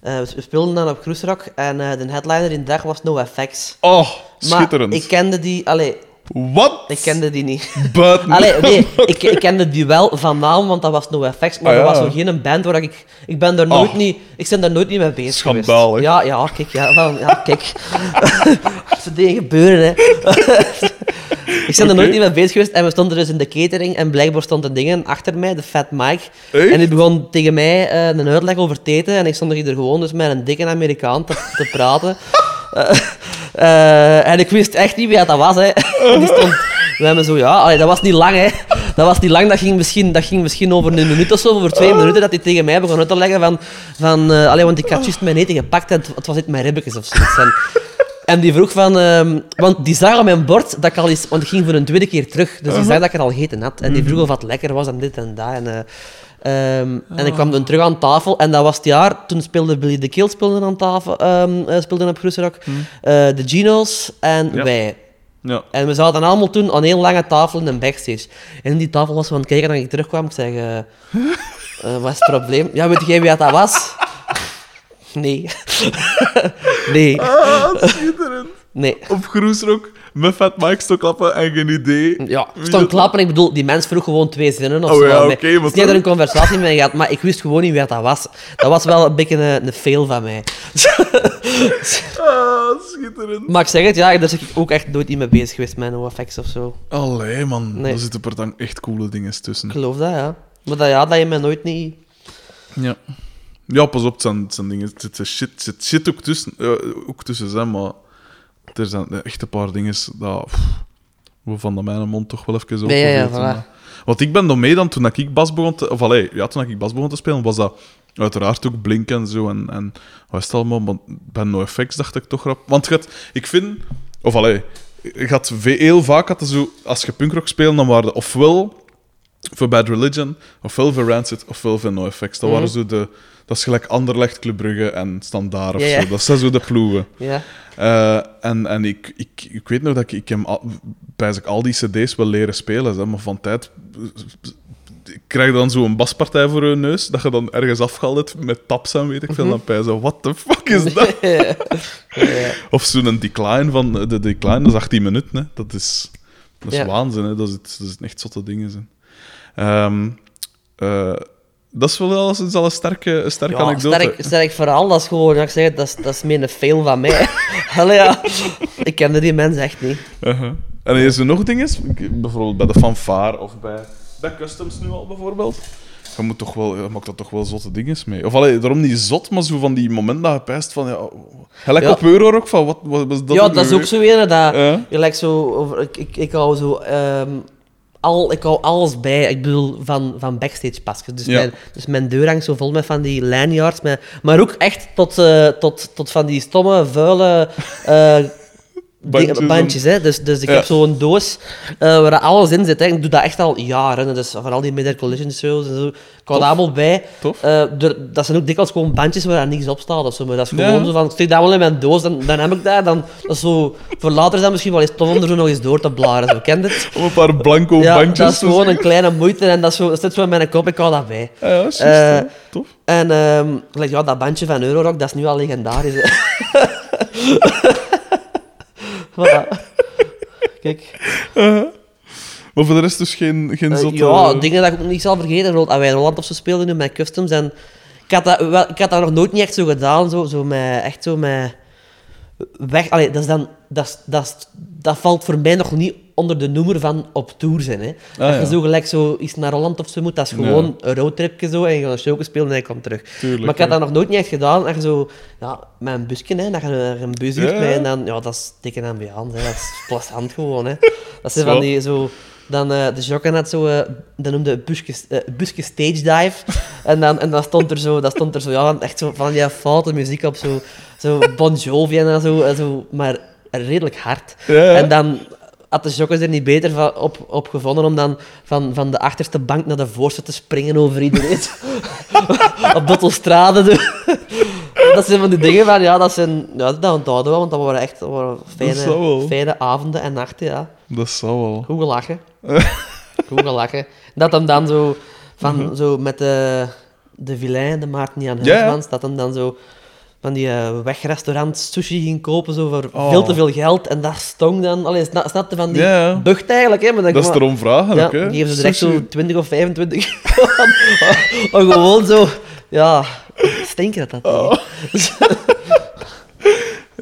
eh, we speelden dan op groesrock en eh, de headliner in de dag was NoFX.
Oh,
eh, Maar
schitterend.
ik kende die... Allee,
Wat?
ik kende die niet.
Buiten.
Allee, nee, ik, ik kende die wel van naam, want dat was No Effects, maar
Ah,
dat
ja.
was zo geen band waar ik... Ik ben daar nooit,
Ah.
niet, ik ben daar nooit niet mee bezig
Schandalig.
geweest. Ja, ja, kijk, ja, van, ja, kijk. Ze dingen gebeuren, hè. ik ben daar nooit niet
Oké.
mee bezig geweest en we stonden dus in de catering en blijkbaar stond een ding achter mij, de Fat Mike.
Echt?
En die begon tegen mij eh, een uitleg over het eten en ik stond hier gewoon dus met een dikke Amerikaan te, te praten. Eh, eh, en ik wist echt niet wie dat was. Hè. Die stond, we hebben zo, ja, allee, dat was niet lang, hè. Dat was niet lang, dat ging misschien, dat ging misschien over een minuut of zo, over twee minuten, dat hij tegen mij begon uit te leggen van... van eh, allee, want ik had juist mijn eten gepakt en het, het was uit mijn ribbetjes of zoiets. En En die vroeg van... ehm, want die zag op mijn bord dat ik al eens... Want ik ging voor een tweede keer terug. Dus die zag dat ik het al gegeten had. En die vroeg of het lekker was en dit en dat. En, eh, ehm, en ik kwam dan terug aan tafel. En dat was het jaar... Toen speelde Billy de Kill speelde aan tafel, ehm, eh, speelde op Groeserok. Eh, de Geno's en
Ja.
wij.
Ja.
En we zaten allemaal toen aan een lange tafel in een backstage. En die tafel was van het kijken dat ik terugkwam. Ik zeg, eh, eh, wat is het probleem? Ja, weet jij wie dat was? Nee. nee.
Ah, schitterend.
Nee.
Op groesrok, met Fat Mike stoklappen en geen idee.
Ja,
Wie
stond
dat-
klappen. Ik bedoel, die mens vroeg gewoon twee zinnen of
Oh
zo.
ja,
aan mij.
oké, maar
Het is niet dat
toch?
er een conversatie mee gehad, maar ik wist gewoon niet wie dat was. Dat was wel een beetje een, een fail van mij.
Ah, schitterend.
Maar ik zeg het, ja, daar ben ik ook echt nooit in mee bezig geweest met NoFX of zo.
Allee, man.
Nee.
Daar zitten per dan echt coole dingen tussen.
Ik geloof dat, ja. Maar dat, ja, dat je mij nooit niet...
Ja. Ja, pas op, het zijn, het zijn dingen. Het zit shit, het zit shit ook tussen, eh, ook tussen zijn, maar er zijn echt een paar dingen dat pff, we van de mijne mond toch wel even zo.
Nee, ja, ja, voilà.
Want ik ben dan mee dan toen ik bas begon te, of allee, ja, toen ik bas begon te spelen, was dat uiteraard ook blink en zo en en wat is het allemaal, want bij NoFX dacht ik toch rap. Want je had- ik vind, of allee, ik had ve- heel vaak had je zo als je punkrock speelde, dan waren de ofwel voor Bad Religion, ofwel voor Rancid, ofwel voor NoFX. Dat waren
Mhm.
zo de... Dat is gelijk Anderlecht, Club Brugge en Standaard of
Ja, ja.
zo. Dat zijn zo de ploegen.
Ja.
Eh, en en ik, ik, ik weet nog dat ik, ik hem al, bijzonder al die cd's wil leren spelen, zeg, maar van tijd... Ik krijg dan zo'n baspartij voor hun neus, dat je dan ergens afgehaald met taps en weet ik
Mhm.
veel. Dan pijzen, what the fuck is dat?
Ja.
Of zo'n decline van... eh, De decline, dat is 18 minuten, hè. Dat is... Dat is
Ja.
waanzin, hè. Dat is, dat is echt zotte dingen, zijn. Ehm, eh, dat is wel eens, is al een sterke, een sterke
Ja,
anekdote.
sterk, sterk verhaal, dat is gewoon, ja, ik zeg, het, dat is, dat is meer een fail van mij. Allee, ja. Ik kende die mens echt niet.
Uh-huh. En is er nog dingen? Ik- Bijvoorbeeld bij de fanfare of bij, bij customs nu al, bijvoorbeeld. Je, moet toch wel, je maakt daar toch wel zotte dingen mee. Of allee, daarom niet zot, maar zo van die momenten dat je pijst van... Ja, oh, gelijk
Ja.
op Eurorock, van wat, wat was dat
ja,
nu
dat is
weer?
ook zo een dat...
Ja.
je lijkt zo, over- ik, ik, ik hou zo... ehm, al, ik hou alles bij, ik bedoel, van, van backstage pasjes. Dus,
Ja.
mijn, dus mijn deur hangt zo vol met van die lanyards. Met, maar ook echt tot, eh, tot, tot van die stomme, vuile... eh,
Bandjes
dingen- bandjes, hè. Dus, dus ik
Ja.
heb zo'n doos eh, waar alles in zit. Hè. Ik doe dat echt al jaren. Dus vooral die Midder Collision shows en zo. Ik hou dat allemaal bij.
Tof.
Eh, er- dat zijn ook dikwijls gewoon bandjes waar daar niks op staat of zo. Maar dat is
Ja.
gewoon zo van, steek dat wel in mijn doos, dan, dan heb ik dat. Dan, dat is zo, voor later is dat misschien wel eens tof om er zo nog eens door te blaren. Zo, kent het?
Om een paar blanco
Ja,
bandjes
dat is
te
gewoon een kleine moeite en dat, is zo, dat zit zo in mijn kop, ik hou dat bij.
Ah, Ja, ja, juist,
Eh,
hè. Tof.
En ehm, gelijk, ja, dat bandje van Eurorock, dat is nu al legendarisch. hè. voilà. Kijk.
Maar voor de rest dus geen, geen
Eh,
zotte...
ja, dingen dat ik ook niet zal vergeten. Bijvoorbeeld, als wij in Holland of zo speelden nu met customs. En ik had dat, wel, ik had dat nog nooit niet echt zo gedaan. Zo, zo met, echt zo met... Weg, allee, dat, is dan, dat, is- dat, is- dat valt voor mij nog niet onder de noemer van op tour zijn. Hè.
Ah,
Als je
ja.
zo gelijk zo iets naar Holland of zo moet, dat is gewoon een roadtripje zo. En je gaat een show spelen en je komt terug.
Tuurlijk,
maar ik had
ja.
dat nog nooit niet echt gedaan. En je zo, ja, met een busje, hè, dat je er een bus huurt
Ja,
met
ja.
en dan, ja, dat is dikke ambiance, hè. dat is plasthand gewoon. Hè. Dat zijn
Zo.
van die zo. Dan, eh, de Jokken had zo, eh dat noemde busjes, eh, busjes stage dive. En dan, en dan stond er zo, dat stond er zo, ja, echt zo van die foute muziek op, zo, zo Bon Jovi en zo, en zo, maar redelijk hard.
Ja, ja.
En dan had de Jokkers er niet beter van, op, op gevonden om dan van, van de achterste bank naar de voorste te springen over iedereen. op Bottelstrade. doen. dat zijn van die dingen van, ja, dat zijn, ja, dat onthouden we, want dat waren echt dat waren
Dat zou
fijne,
wel.
fijne avonden en nachten, ja.
Dat zou wel.
Goed gelachen. Goed gelachen. Dat hem dan zo, van, zo met de, de vilain, de Maarten Jan
Mhm. Ja, ja.
Huismans, dat hem dan zo van die eh, wegrestaurant sushi ging kopen zo voor
Oh.
veel te veel geld. En dat stong dan... Allee, sna- snapte van die
Ja, ja.
bucht eigenlijk, hè? Maar dan
Dat is
kwam-
erom vragen,
ja,
ook, hè.
die geven ze direct
Sushi.
zo 20 of 25 Maar gewoon zo... Ja, stinken dat
Ah,
dat. Oh.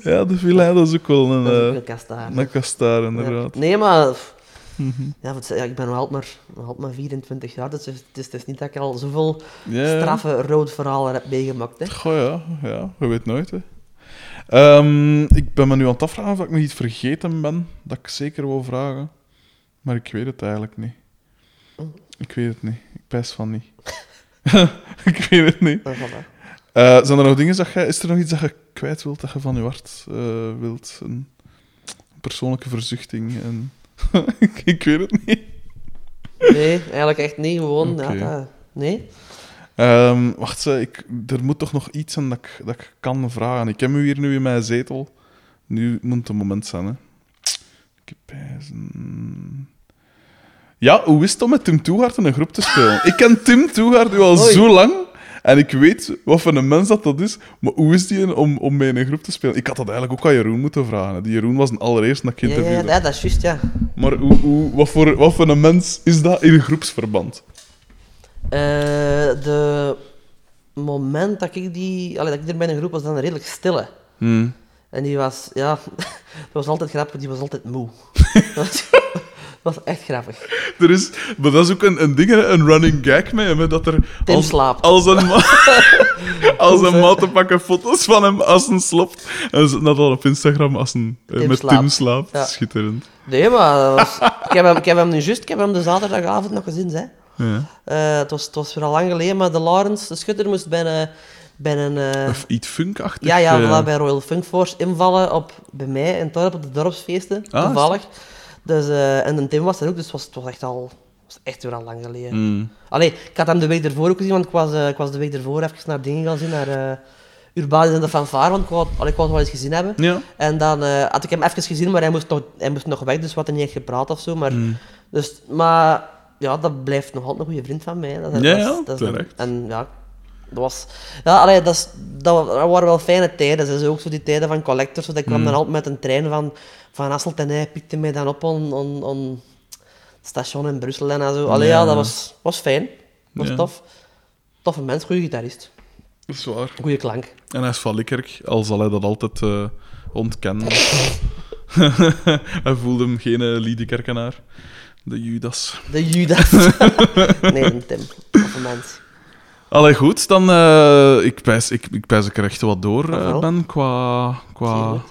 Ja, de villa, dat is ook wel een,
Dat is ook
eh
een kastaar.
een kastaar,
Ja.
inderdaad. Mhm.
Nee, maar... Ja, wat- ja, ik ben nog altijd maar, nog altijd maar 24 jaar, dus het is, het is niet dat ik al zoveel
Ja.
straffe rood verhalen heb meegemaakt. Hè.
Goh ja, ja, je weet nooit. Hè. Ehm, ik ben me nu aan het afvragen of ik nog iets vergeten ben. Dat ik zeker wil vragen. Maar ik weet het eigenlijk niet.
Oh.
Ik weet het niet. Ik pijs van niet. ik weet het niet.
Maar voilà.
Eh, zijn er nog dingen dat je, is er nog iets dat je kwijt wilt, dat je van je hart eh, wilt? Een persoonlijke verzuchting? En... ik, ik weet het niet.
Nee, eigenlijk echt niet. Gewoon,
Oké.
ja, dat- nee.
Ehm, wacht, ze, ik, er moet toch nog iets zijn dat ik, dat ik kan vragen. Ik heb u hier nu in mijn zetel. Nu moet het een moment zijn, hè. Ik heb pijzen. Ja, hoe is het om met Tim Toegaard in een groep te spelen? ik ken Tim Toegaard nu al
Hoi.
zo lang. En ik weet wat voor een mens dat, dat is. Maar hoe is die om, om mee in een groep te spelen? Ik had dat eigenlijk ook aan Jeroen moeten vragen. hè. Die Jeroen was een allereerste dat ik
Ja, ja,
interviewde.
ja, dat is juist, ja.
Maar hoe, hoe, wat, voor, wat voor een mens is dat in groepsverband?
Eh, de moment dat ik die... Allee, dat ik er bij een groep was, dan redelijk stille.
Hmm.
En die was, ja... Dat was altijd grappig, die was altijd moe. dat, was, dat was echt grappig.
Er is, maar dat is ook een, een ding, hè, een running gag met hem, hè, dat er...
Tim
als,
slaapt.
Als een, ma- als een maat pakken foto's van hem als hij slaapt. En ze dat al op Instagram als een, eh,
Tim
met Tim
slaapt.
slaapt.
Ja.
Schitterend.
Nee, maar dat was, ik, heb hem, ik heb hem nu juist, ik heb hem de zaterdagavond nog gezien, hè.
Ja.
Eh, het, was, het was weer al lang geleden, maar de Lawrence, de schutter, moest bij een... Bij een eh,
Of iets funkachtig.
ja, ja,
eh.
voilà, bij Royal Funk Force invallen op, bij mij in Torp op de dorpsfeesten,
Ah,
toevallig. Dus, eh, en de Tim was er ook, dus het was, het was echt al... was echt weer al lang geleden.
Mm.
Allee, ik had hem de week ervoor ook gezien, want ik was, eh, ik was de week ervoor even naar dingen gaan zien, naar eh Urbanus en de Fanfare, want ik wou, allee, ik wou het wel eens gezien hebben.
Ja.
En dan eh, had ik hem even gezien, maar hij moest nog, hij moest nog weg, dus we hadden niet echt gepraat of zo. Maar,
Hmm.
dus, maar ja, dat blijft nog altijd een goede vriend van mij. hè. Dat, is-
Ja,
dat is-
ja,
dat is een-
terecht.
En ja, dat was... Ja, allee, dat, is, dat wa- dat waren wel fijne tijden. dus Dat is ook zo die tijden van collectors. want Ik
Hmm.
kwam dan altijd met een trein van, van Hasselt en hij pikte mij dan op on, on, on het station in Brussel en zo. Allee, ja,
Ja.
dat was, was fijn. was
Ja.
tof. Toffe mens, goede gitarist.
Dat is waar.
Goede klank.
En hij is van Likkerk, al zal hij dat altijd eh, ontkennen. hij voelde hem geen uh, Liedekerkenaar. De Judas.
De Judas. nee, een Tim. Toffe mens.
Allee, goed, dan... eh ik pijs ik, ik pijs ik er echt wat door, eh,
Jawel.
Ben, qua... qua...
Zeer goed.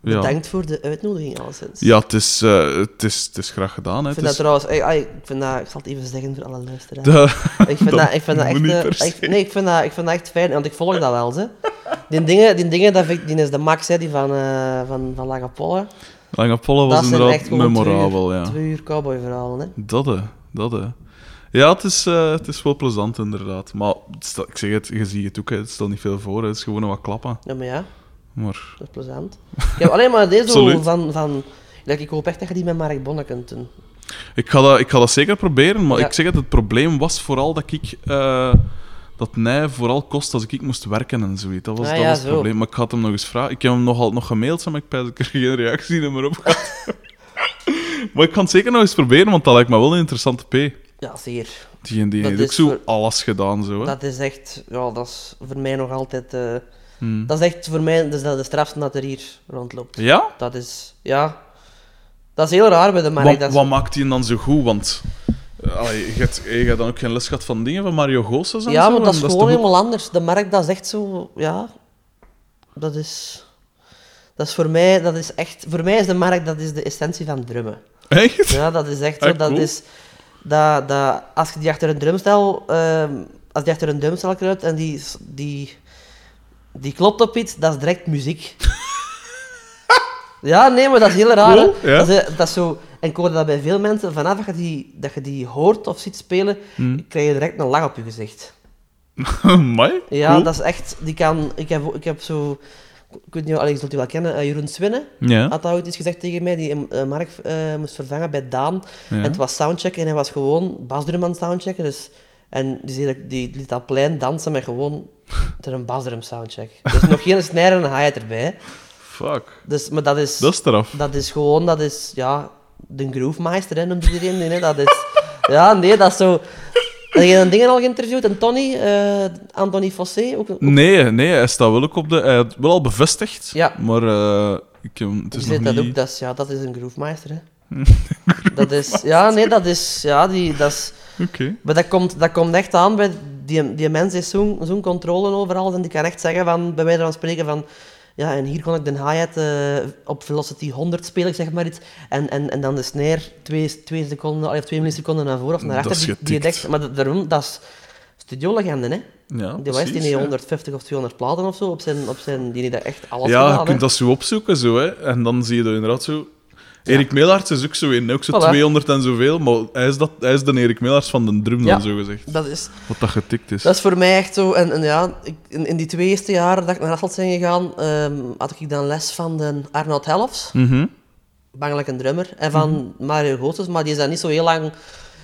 Bedankt voor de uitnodiging, alleszins.
Ja, het is, eh, het is, het is graag gedaan. Hè.
Ik vind
Het
dat
is-
trouwens, ey, ey, ik, vind dat, ik zal het even zeggen voor alle luisteraars.
De-
ik vind
dat
dat, ik vind dat
moet
echt,
niet
eh,
per se.
ik- nee, ik vind dat, ik vind dat echt fijn, want ik volg dat wel. Ze. Die dingen, die dingen dat vind ik, die is de max, hè, die van, eh van, van Lange Pollen.
Lange Pollen
Dat
was
zijn echt
inderdaad
gewoon
memorabel, ja.
Twee uur cowboyverhalen, hè.
Dat, hè. Dat, hè. Ja, het is, eh, het is wel plezant, inderdaad. Maar het stel- ik zeg het, je ziet het ook, hè. het stelt niet veel voor. Hè. Het is gewoon wat klappen.
Ja, maar ja,
Maar
dat is plezant. Ik heb alleen maar deze
Absoluut.
zo van... van like, ik hoop echt dat je die met Mark Bonne kunt doen.
ik ga dat, ik ga dat zeker proberen. Maar
Ja.
ik zeg het, het probleem was vooral dat ik... eh, dat mij vooral kost als ik, ik moest werken en zoiets. Dat was,
Ah,
dat
ja,
was het
zo.
probleem. Maar ik had hem nog eens vragen. Ik heb hem nogal nog gemaild, maar ik pijs dat ik er geen reactie meer op gehad. maar ik kan het zeker nog eens proberen, want dat lijkt me wel een interessante P.
Ja, zeker.
Die, die
Dat
heeft ook
is
zo
voor-
alles gedaan, zo. Hè?
Dat is echt... Ja, dat is voor mij nog altijd... eh,
Hmm.
Dat is echt voor mij dus dat de strafste dat er hier rondloopt.
Ja?
Dat is, ja. Dat is heel raar bij de
Wat,
markt. dat is-
wat maakt die dan zo goed? Want eh, allee, je hebt je hebt dan ook geen les gehad van dingen van Mario Goossens en
ja,
zo,
maar
en
dat is
toch
gewoon
ook-
helemaal anders. De markt, dat is echt zo, ja. Dat is. Dat is voor mij, dat is echt. Voor mij is de markt dat is de essentie van drummen.
Echt?
Ja, dat is echt
Ah,
zo. Dat
cool.
is, dat, dat, als je die achter een drumstel, ehm, als die achter een drumstel kruipt en die, die, die klopt op iets, dat is direct muziek. ja, nee, maar dat is heel raar. hè.
Cool, ja.
dat, is, eh, dat is zo, en ik hoorde dat bij veel mensen, vanaf dat je die, dat je die hoort of ziet spelen,
Hmm.
krijg je direct een lach op je gezicht.
Amai,
Ja,
cool.
dat is echt, die kan, ik heb, ik heb zo, ik weet niet, Alex, je zult die wel kennen, eh, Jeroen Swinnen
Ja.
had dat ooit iets gezegd tegen mij, die eh, Mark eh, moest vervangen bij Daan.
Ja.
En het was soundchecken en hij was gewoon basdrum aan het soundchecken. Dus, en die, zei dat- die liet dat plein dansen met gewoon ter een basdrum soundcheck. Dus nog geen snare en een hi erbij. hè.
Fuck.
Dus, maar dat is,
Dat is eraf.
dat is gewoon, dat is, ja, de groovemeister, hè, noemt iedereen die, hè. Dat is, ja, nee, dat is zo... Heb je een dingen al geïnterviewd? En Tony, eh, Anthony Fossé, ook, ook
Nee, nee, hij staat wel ook op de... Hij had wel al bevestigd,
Ja.
maar eh, ik, heb- het
Die
is
zit
nog
dat
niet...
ook, dat is, ja, dat is een groovemeister, hè. dat is, ja, nee, dat is, ja, die, dat is,
Oké.
maar dat komt, dat komt echt aan bij, die, die mens is zo'n zo'n controle overal, en die kan echt zeggen van, bij wijze van spreken van, ja, en hier kon ik de hi-hat eh, op velocity 100 spelen, ik zeg maar iets, en, en, en dan de snare twee, twee seconden, allee, of twee milliseconden naar voren of naar
Dat
achter, die,
is
die je
getikt.
denkt- maar dat, daarom, dat is studiolegende, hè.
Ja,
Die was die
precies,
niet
ja.
150 of 200 platen of zo op zijn, op zijn die niet echt alles
Ja,
gedaan,
je
hè.
kunt dat zo opzoeken zo, hè. en dan zie je dat inderdaad zo. Erik Meelaerts is ook zo in, ook zo
Voilà.
200 en zoveel, maar hij is, dat, hij is de Erik Meelaerts van de
Ja.
drum dan zo gezegd.
Dat is,
Wat dat getikt is.
dat is voor mij echt zo. En, en ja, ik, in, in die twee eerste jaren dat ik naar Hasselt ben gegaan, ehm, had ik dan les van de Arnoud Helfs,
Mhm.
bangelijk een drummer, en van Mario Goossens, maar die is daar niet zo heel lang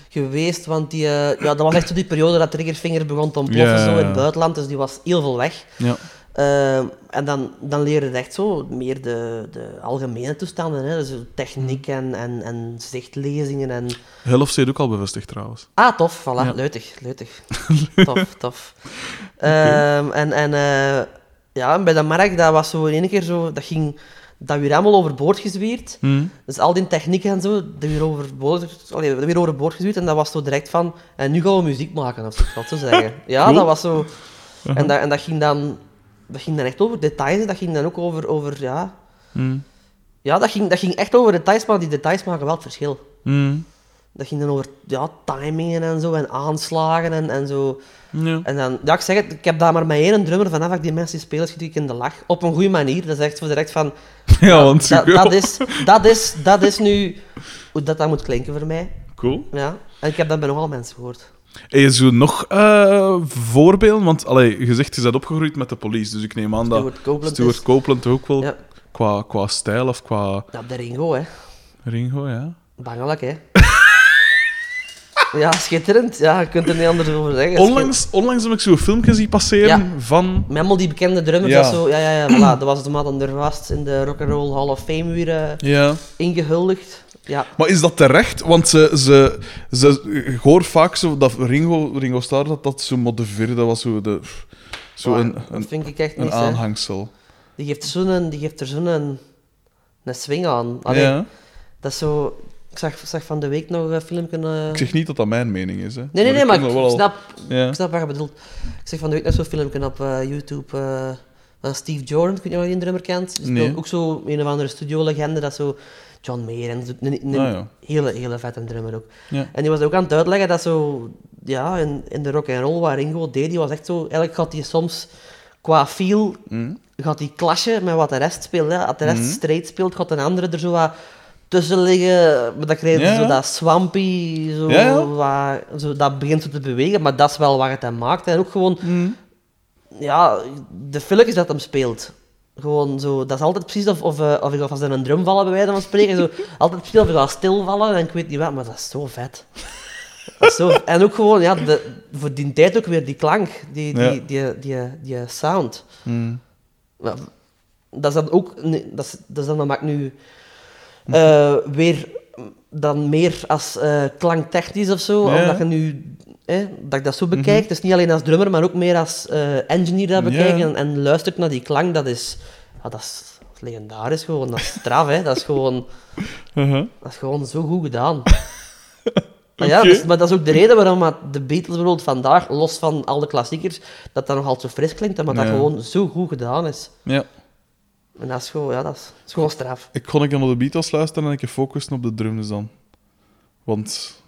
geweest, want die, eh, ja, dat was echt zo die periode dat Triggerfinger begon te ontploffen
Ja, ja,
zo, in
ja.
het buitenland, dus die was heel veel weg.
Ja.
Ehm, en dan, dan leer je echt zo meer de, de algemene toestanden, hè? dus techniek
Mhm.
en, en, en zichtlezingen en...
Helft heeft ook al bevestigd trouwens.
Ah, tof, voilà,
Ja.
leutig, leutig. tof, tof. Ehm, en en eh, ja, en bij dat merk, dat was zo in één keer zo, dat ging dat weer allemaal overboord gezwierd.
Mhm.
Dus al die technieken en zo, dat weer overboord, allee, dat weer overboord gezwierd. En dat was zo direct van, en nu gaan we muziek maken, of zo, wat ze zeggen. Ja,
Cool.
dat was zo... En, dat, en dat, ging dan, dat ging dan echt over details, en dat ging dan ook over, over ja...
Mhm.
Ja, dat ging, dat ging echt over details, maar die details maken wel het verschil.
Mhm.
Dat ging dan over ja, timingen en zo, en aanslagen en, en zo.
Ja.
En dan, ja, ik zeg het, ik heb daar maar met één drummer vanaf dat ik die mensen spelen, schiet ik in de lach. Op een goede manier, dat is echt zo direct van...
ja, want
Dat, dat, is, dat, is, dat is nu hoe dat, dat moet klinken voor mij.
Cool.
Ja. En ik heb dat bij nogal mensen gehoord.
En je zo nog eh, voorbeelden? Want allee, je zegt, je bent opgegroeid met de police, dus ik neem aan dat
Stuart Copeland
Stuart
is-
Copeland ook wel
Ja.
qua, qua stijl of qua
Ja, de Ringo, hè.
Ringo, ja.
Bangelijk, hè. ja, schitterend. Ja, je kunt er niet anders over zeggen.
Onlangs, onlangs heb ik zo'n filmpje zien passeren
Ja.
van...
Met allemaal die bekende drummers
Ja.
dat zo... Ja, ja, ja, voilà. Dat was de maat er vast in de Rock'n'Roll Hall of Fame weer eh,
Ja.
ingehuldigd. Ja.
Maar is dat terecht? Want ze, ze, ze, ik hoor vaak zo dat Ringo, Ringo Starr, dat dat zo maar de vierde was, zo, de, zo
Ja,
een,
dat
een,
vind ik echt
een
niet, hè.
aanhangsel.
Die geeft zo'n- die geeft er zo'n een, swing aan. Allee,
Ja.
Dat is zo... Ik zag, zag van de week nog een filmpje... eh,
Ik zeg niet dat dat mijn mening is. Hè.
Nee, nee, nee, maar ik,
kan wel al-
snap,
Ja.
ik snap wat je bedoelt. Ik zeg van de week nog zo'n filmpje op eh, YouTube eh, van Steve Jordan, ik weet niet of je die drummer kent. Die speelt
Nee.
ook zo een of andere studio-legende, dat zo John Mayer en zo- een, een
Ah, ja.
hele, hele vette drummer ook.
Ja.
En die was ook aan het uitleggen dat zo, ja, in, in de rock and roll waar Ringo deed, die was echt zo, eigenlijk gaat hij soms qua feel,
Mm.
gaat hij clashen met wat de rest speelt. Hè. Als de rest straight speelt, gaat een andere er zo wat tussen liggen, maar dan krijg je
Ja,
zo
ja.
dat swampy, zo,
Ja, ja.
wat- zo, dat begint zo te bewegen, maar dat is wel wat het hem maakt. En ook gewoon,
Hm.
ja, de filmpjes dat hem speelt. Gewoon zo, dat is altijd precies of, of, eh, of ik alvast in een drum vallen, bij wijze van spreken. Zo, altijd precies of ik ga stilvallen en ik weet niet wat, maar dat is zo vet. Dat is zo, en ook gewoon, ja, de, voor die tijd ook weer die klank, die, die,
Ja.
die, die, die, die sound.
Mm.
Ja, dat is dan ook... nee, dat, is, dat, is dan, dat maakt nu
Mhm.
eh, weer dan meer als eh, klanktechnisch of zo.
Ja. Mhm.
Omdat je nu... hè, dat ik dat zo bekijk. Dus niet alleen als drummer, maar ook meer als eh, engineer dat
Ja.
bekijken. En, en luistert naar die klank. Dat is... ja, dat is legendarisch gewoon. Dat is straf, hè. Dat is gewoon...
Uh-huh.
Dat is gewoon zo goed gedaan. Maar ja,
Oké.
dus- maar dat is ook de reden waarom dat de Beatles bijvoorbeeld vandaag, los van al de klassiekers, dat dat nog altijd zo fris klinkt, hè, maar dat
Ja.
gewoon zo goed gedaan is.
ja.
En dat is gewoon, ja, dat is, dat is gewoon straf.
Ik kon ik dan op de Beatles luisteren en ik focussen op de drums dan. Want...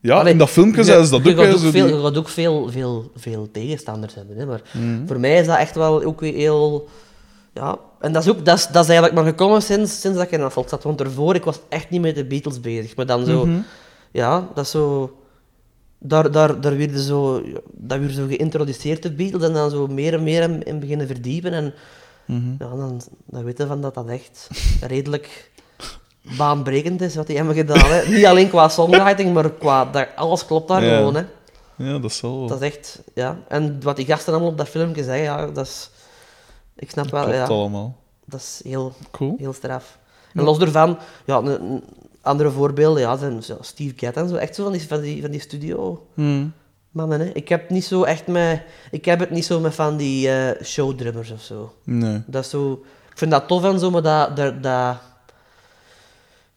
Ja,
Allee,
in dat filmpje
je-
zijn ze dat
je
ook.
gaat
hè,
ook
zo
veel,
die-
Je gaat ook veel, veel, veel tegenstanders hebben. Hè, maar
Mhm.
voor mij is dat echt wel ook weer heel... Ja, en dat is, ook, dat is, dat is eigenlijk maar gekomen sinds, sinds dat ik in Asselt zat. Want ervoor, ik was echt niet met de Beatles bezig. Maar dan
Mhm.
zo... Ja, dat is zo... Daar, daar, daar werden zo, dat werd zo geïntroduceerd, de Beatles. En dan zo meer en meer in, in beginnen verdiepen. En
Mhm.
ja, dan, dan weten we van dat dat echt redelijk baanbrekend is wat die hebben gedaan. Hè. Niet alleen qua songwriting, maar qua dat, alles klopt daar
Ja.
gewoon. Hè.
Ja, dat zal wel.
Dat is echt, ja. En wat die gasten allemaal op dat filmpje zeggen, ja, dat is... Ik snap wel,
Klopt
ja.
allemaal.
Dat is heel,
Cool.
heel straf. En los daarvan, ja, een- een- andere voorbeelden, ja, zijn zo Steve Gadd en zo. Echt zo van die, van die, van die studio...
Mm.
Mannen, hè. Ik heb, niet zo echt met, ik heb het niet zo met van die eh, showdrummers of zo.
Nee.
Dat is zo... Ik vind dat tof en zo, maar dat... dat, dat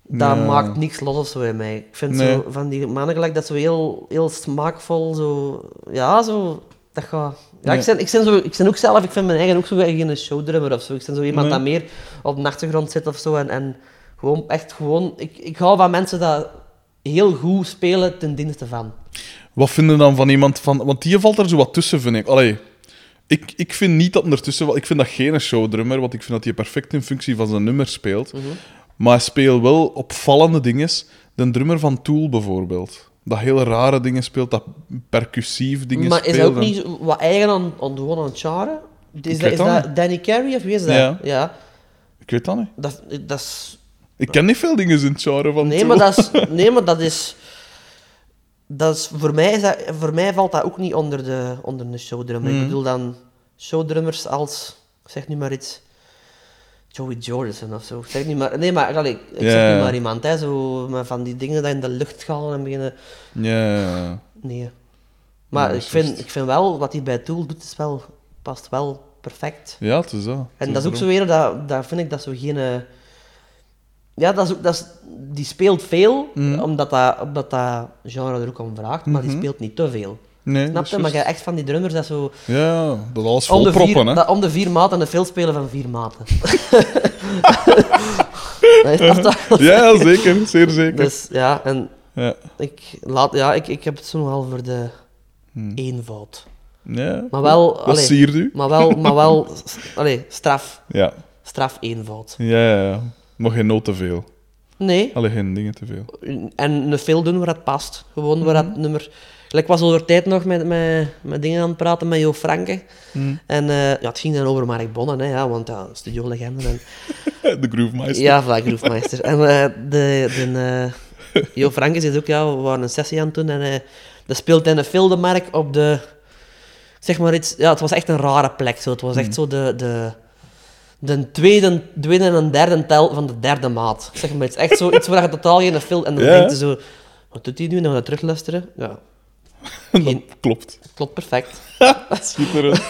dat
Ja.
maakt niks los of zo in mij. Ik vind
Nee.
zo van die mannen gelijk dat zo heel, heel smaakvol, zo... Ja, zo... Dat gaat... Ja,
Ja.
ik, ben, ik, ben zo, ik ben ook zelf... Ik vind mijn eigen ook zo geen showdrummer of zo. Ik ben zo iemand
Nee.
dat meer op de achtergrond zit of zo. En, en gewoon echt gewoon... Ik, ik hou van mensen dat heel goed spelen ten dienste van.
Wat vinden dan van iemand van... Want die valt er zo wat tussen, vind ik. Allee, ik, ik vind niet dat hem ertussen... valt. Ik vind dat geen showdrummer, want ik vind dat hij perfect in functie van zijn nummer speelt.
Mhm.
Maar hij speelt wel opvallende dingen. De drummer van Tool bijvoorbeeld. Dat hele rare dingen speelt, dat percussief dingen
Maar is
speelt.
dat ook
en-
niet zo- wat eigen aan, aan Duane aan Chara? Is, dat,
weet
is
dat
dat Danny Carey of wie is dat?
Ja.
ja
Ik weet dat niet.
dat, dat is
Ik ken niet veel dingen in het genre van
Nee,
Tool.
maar dat is. Nee, maar dat is. Dat is voor, mij is dat, voor mij valt dat ook niet onder de, onder de showdrummer.
Hmm.
Ik bedoel dan showdrummers als. Ik zeg nu maar iets. Joey Jordison of zo. Ik zeg nu maar. Nee, maar allee, ik
Ja.
zeg nu maar iemand, hè, zo, maar van die dingen die in de lucht gaan en beginnen.
Ja, ja, ja.
Nee. Maar
Ja, dat
ik,
is
vind,
juist.
ik vind wel wat hij bij Tool doet, is wel, past wel perfect.
Ja, het is dat.
En dat is ook zo weer, dat, dat vind ik dat zo geen. eh, Ja, dat is ook, dat is, die speelt veel,
Mm.
omdat, dat, omdat dat genre er ook om vraagt, maar die speelt niet te veel.
Mhm. Nee,
Snap je?
dat is
Maar jij
juist.
echt van die drummers dat zo.
Ja, dat alles
Om
vol
de, vier,
proppen, hè.
dat om de vier maten een veel spelen van vier maten. Dat is dat toch?
Ja, zeker. Zeer zeker.
Dus ja, en
Ja.
ik, laat, ja, ik, ik heb het zo nogal voor de
Hmm.
eenvoud.
ja.
Maar wel,
Wat
allee,
siert u?
maar wel, maar wel s- allee, straf,
Ja.
straf eenvoud.
Ja, ja, ja. Maar geen noot te veel.
Nee,
Allee, geen dingen te veel.
en een film doen waar het past. Gewoon waar het nummer... Ik was over tijd nog met, met, met dingen aan het praten met Jo Franke. En eh, ja, het ging dan over Mark Bonnen, hè, ja, want ja, studiolegende. En,
De Groove Meister.
ja, voilà, Groefmeister. En eh, de, de, eh, Jo Franke zegt ook, ja, we waren een sessie aan het doen en eh dat speelt in een fildemark op de... Zeg maar iets... Ja, het was echt een rare plek. Zo. Het was
Hmm.
echt zo de... de de tweede, tweede en derde tel van de derde maat. Zeg maar, het is echt zo iets waar je totaal geen film... En dan
Ja.
denkt je zo... Wat doet hij nu? En dan gaan we dat terugluisteren. Ja,
dat
geen-
klopt.
klopt perfect.
Schitterend.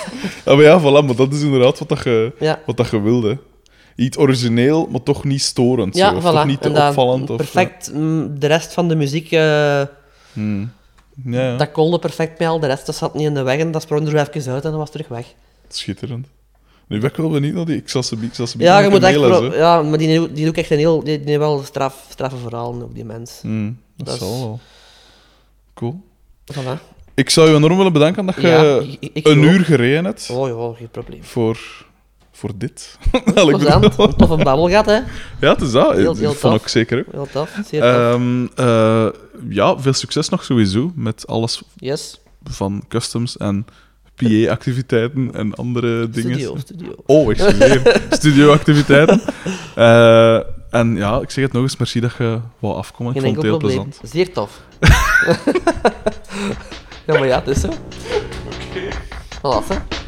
ja, maar ja, voilà, maar dat is inderdaad wat, dat je,
Ja.
wat dat je wilde. Iets origineel, maar toch niet storend.
Ja,
zo. Of
voilà.
toch niet te
En dan
opvallend. Of,
perfect. mm, De rest van de muziek... eh,
Hmm. Ja, ja.
Dat kolde perfect bij al de rest, dat zat niet in de weg en dat sprong er even uit en dat was terug weg.
Schitterend. Nu ben ik wel benieuwd naar die. Ik zal ze bi- ik zal ze
Ja, je
binnenkort
moet echt
mailen,
pro-
zo.
ja maar die, doet- die doet echt een heel, die, die heeft wel straf, straffe verhalen op die mens.
Hmm, dat,
Dat is-
zal wel. Cool.
Voilà.
Ik zou je enorm willen bedanken dat je
Ja, ik- ik
een
ook.
uur gereden hebt
Oh ja, geen probleem.
voor, voor dit. Wel, ik bedoel-
Plezant, een toffe babbel gehad, hè.
ja, het is dat.
Heel-
Ik
heel
vond
tof.
ik zeker ook.
Heel tof, zeer tof.
Ehm, eh, ja, veel succes nog sowieso met alles
yes,
van customs en PA-activiteiten en andere dingen.
studio, studio.
Oh, ik zie weer. Studioactiviteiten. Eh, en ja, ik zeg het nog eens, merci dat je wou afkomen. Ik
Geen
vond
enkel
het heel
probleem.
plezant.
Zeer tof. ja, maar ja, het is zo. Oké. Voilà, hè.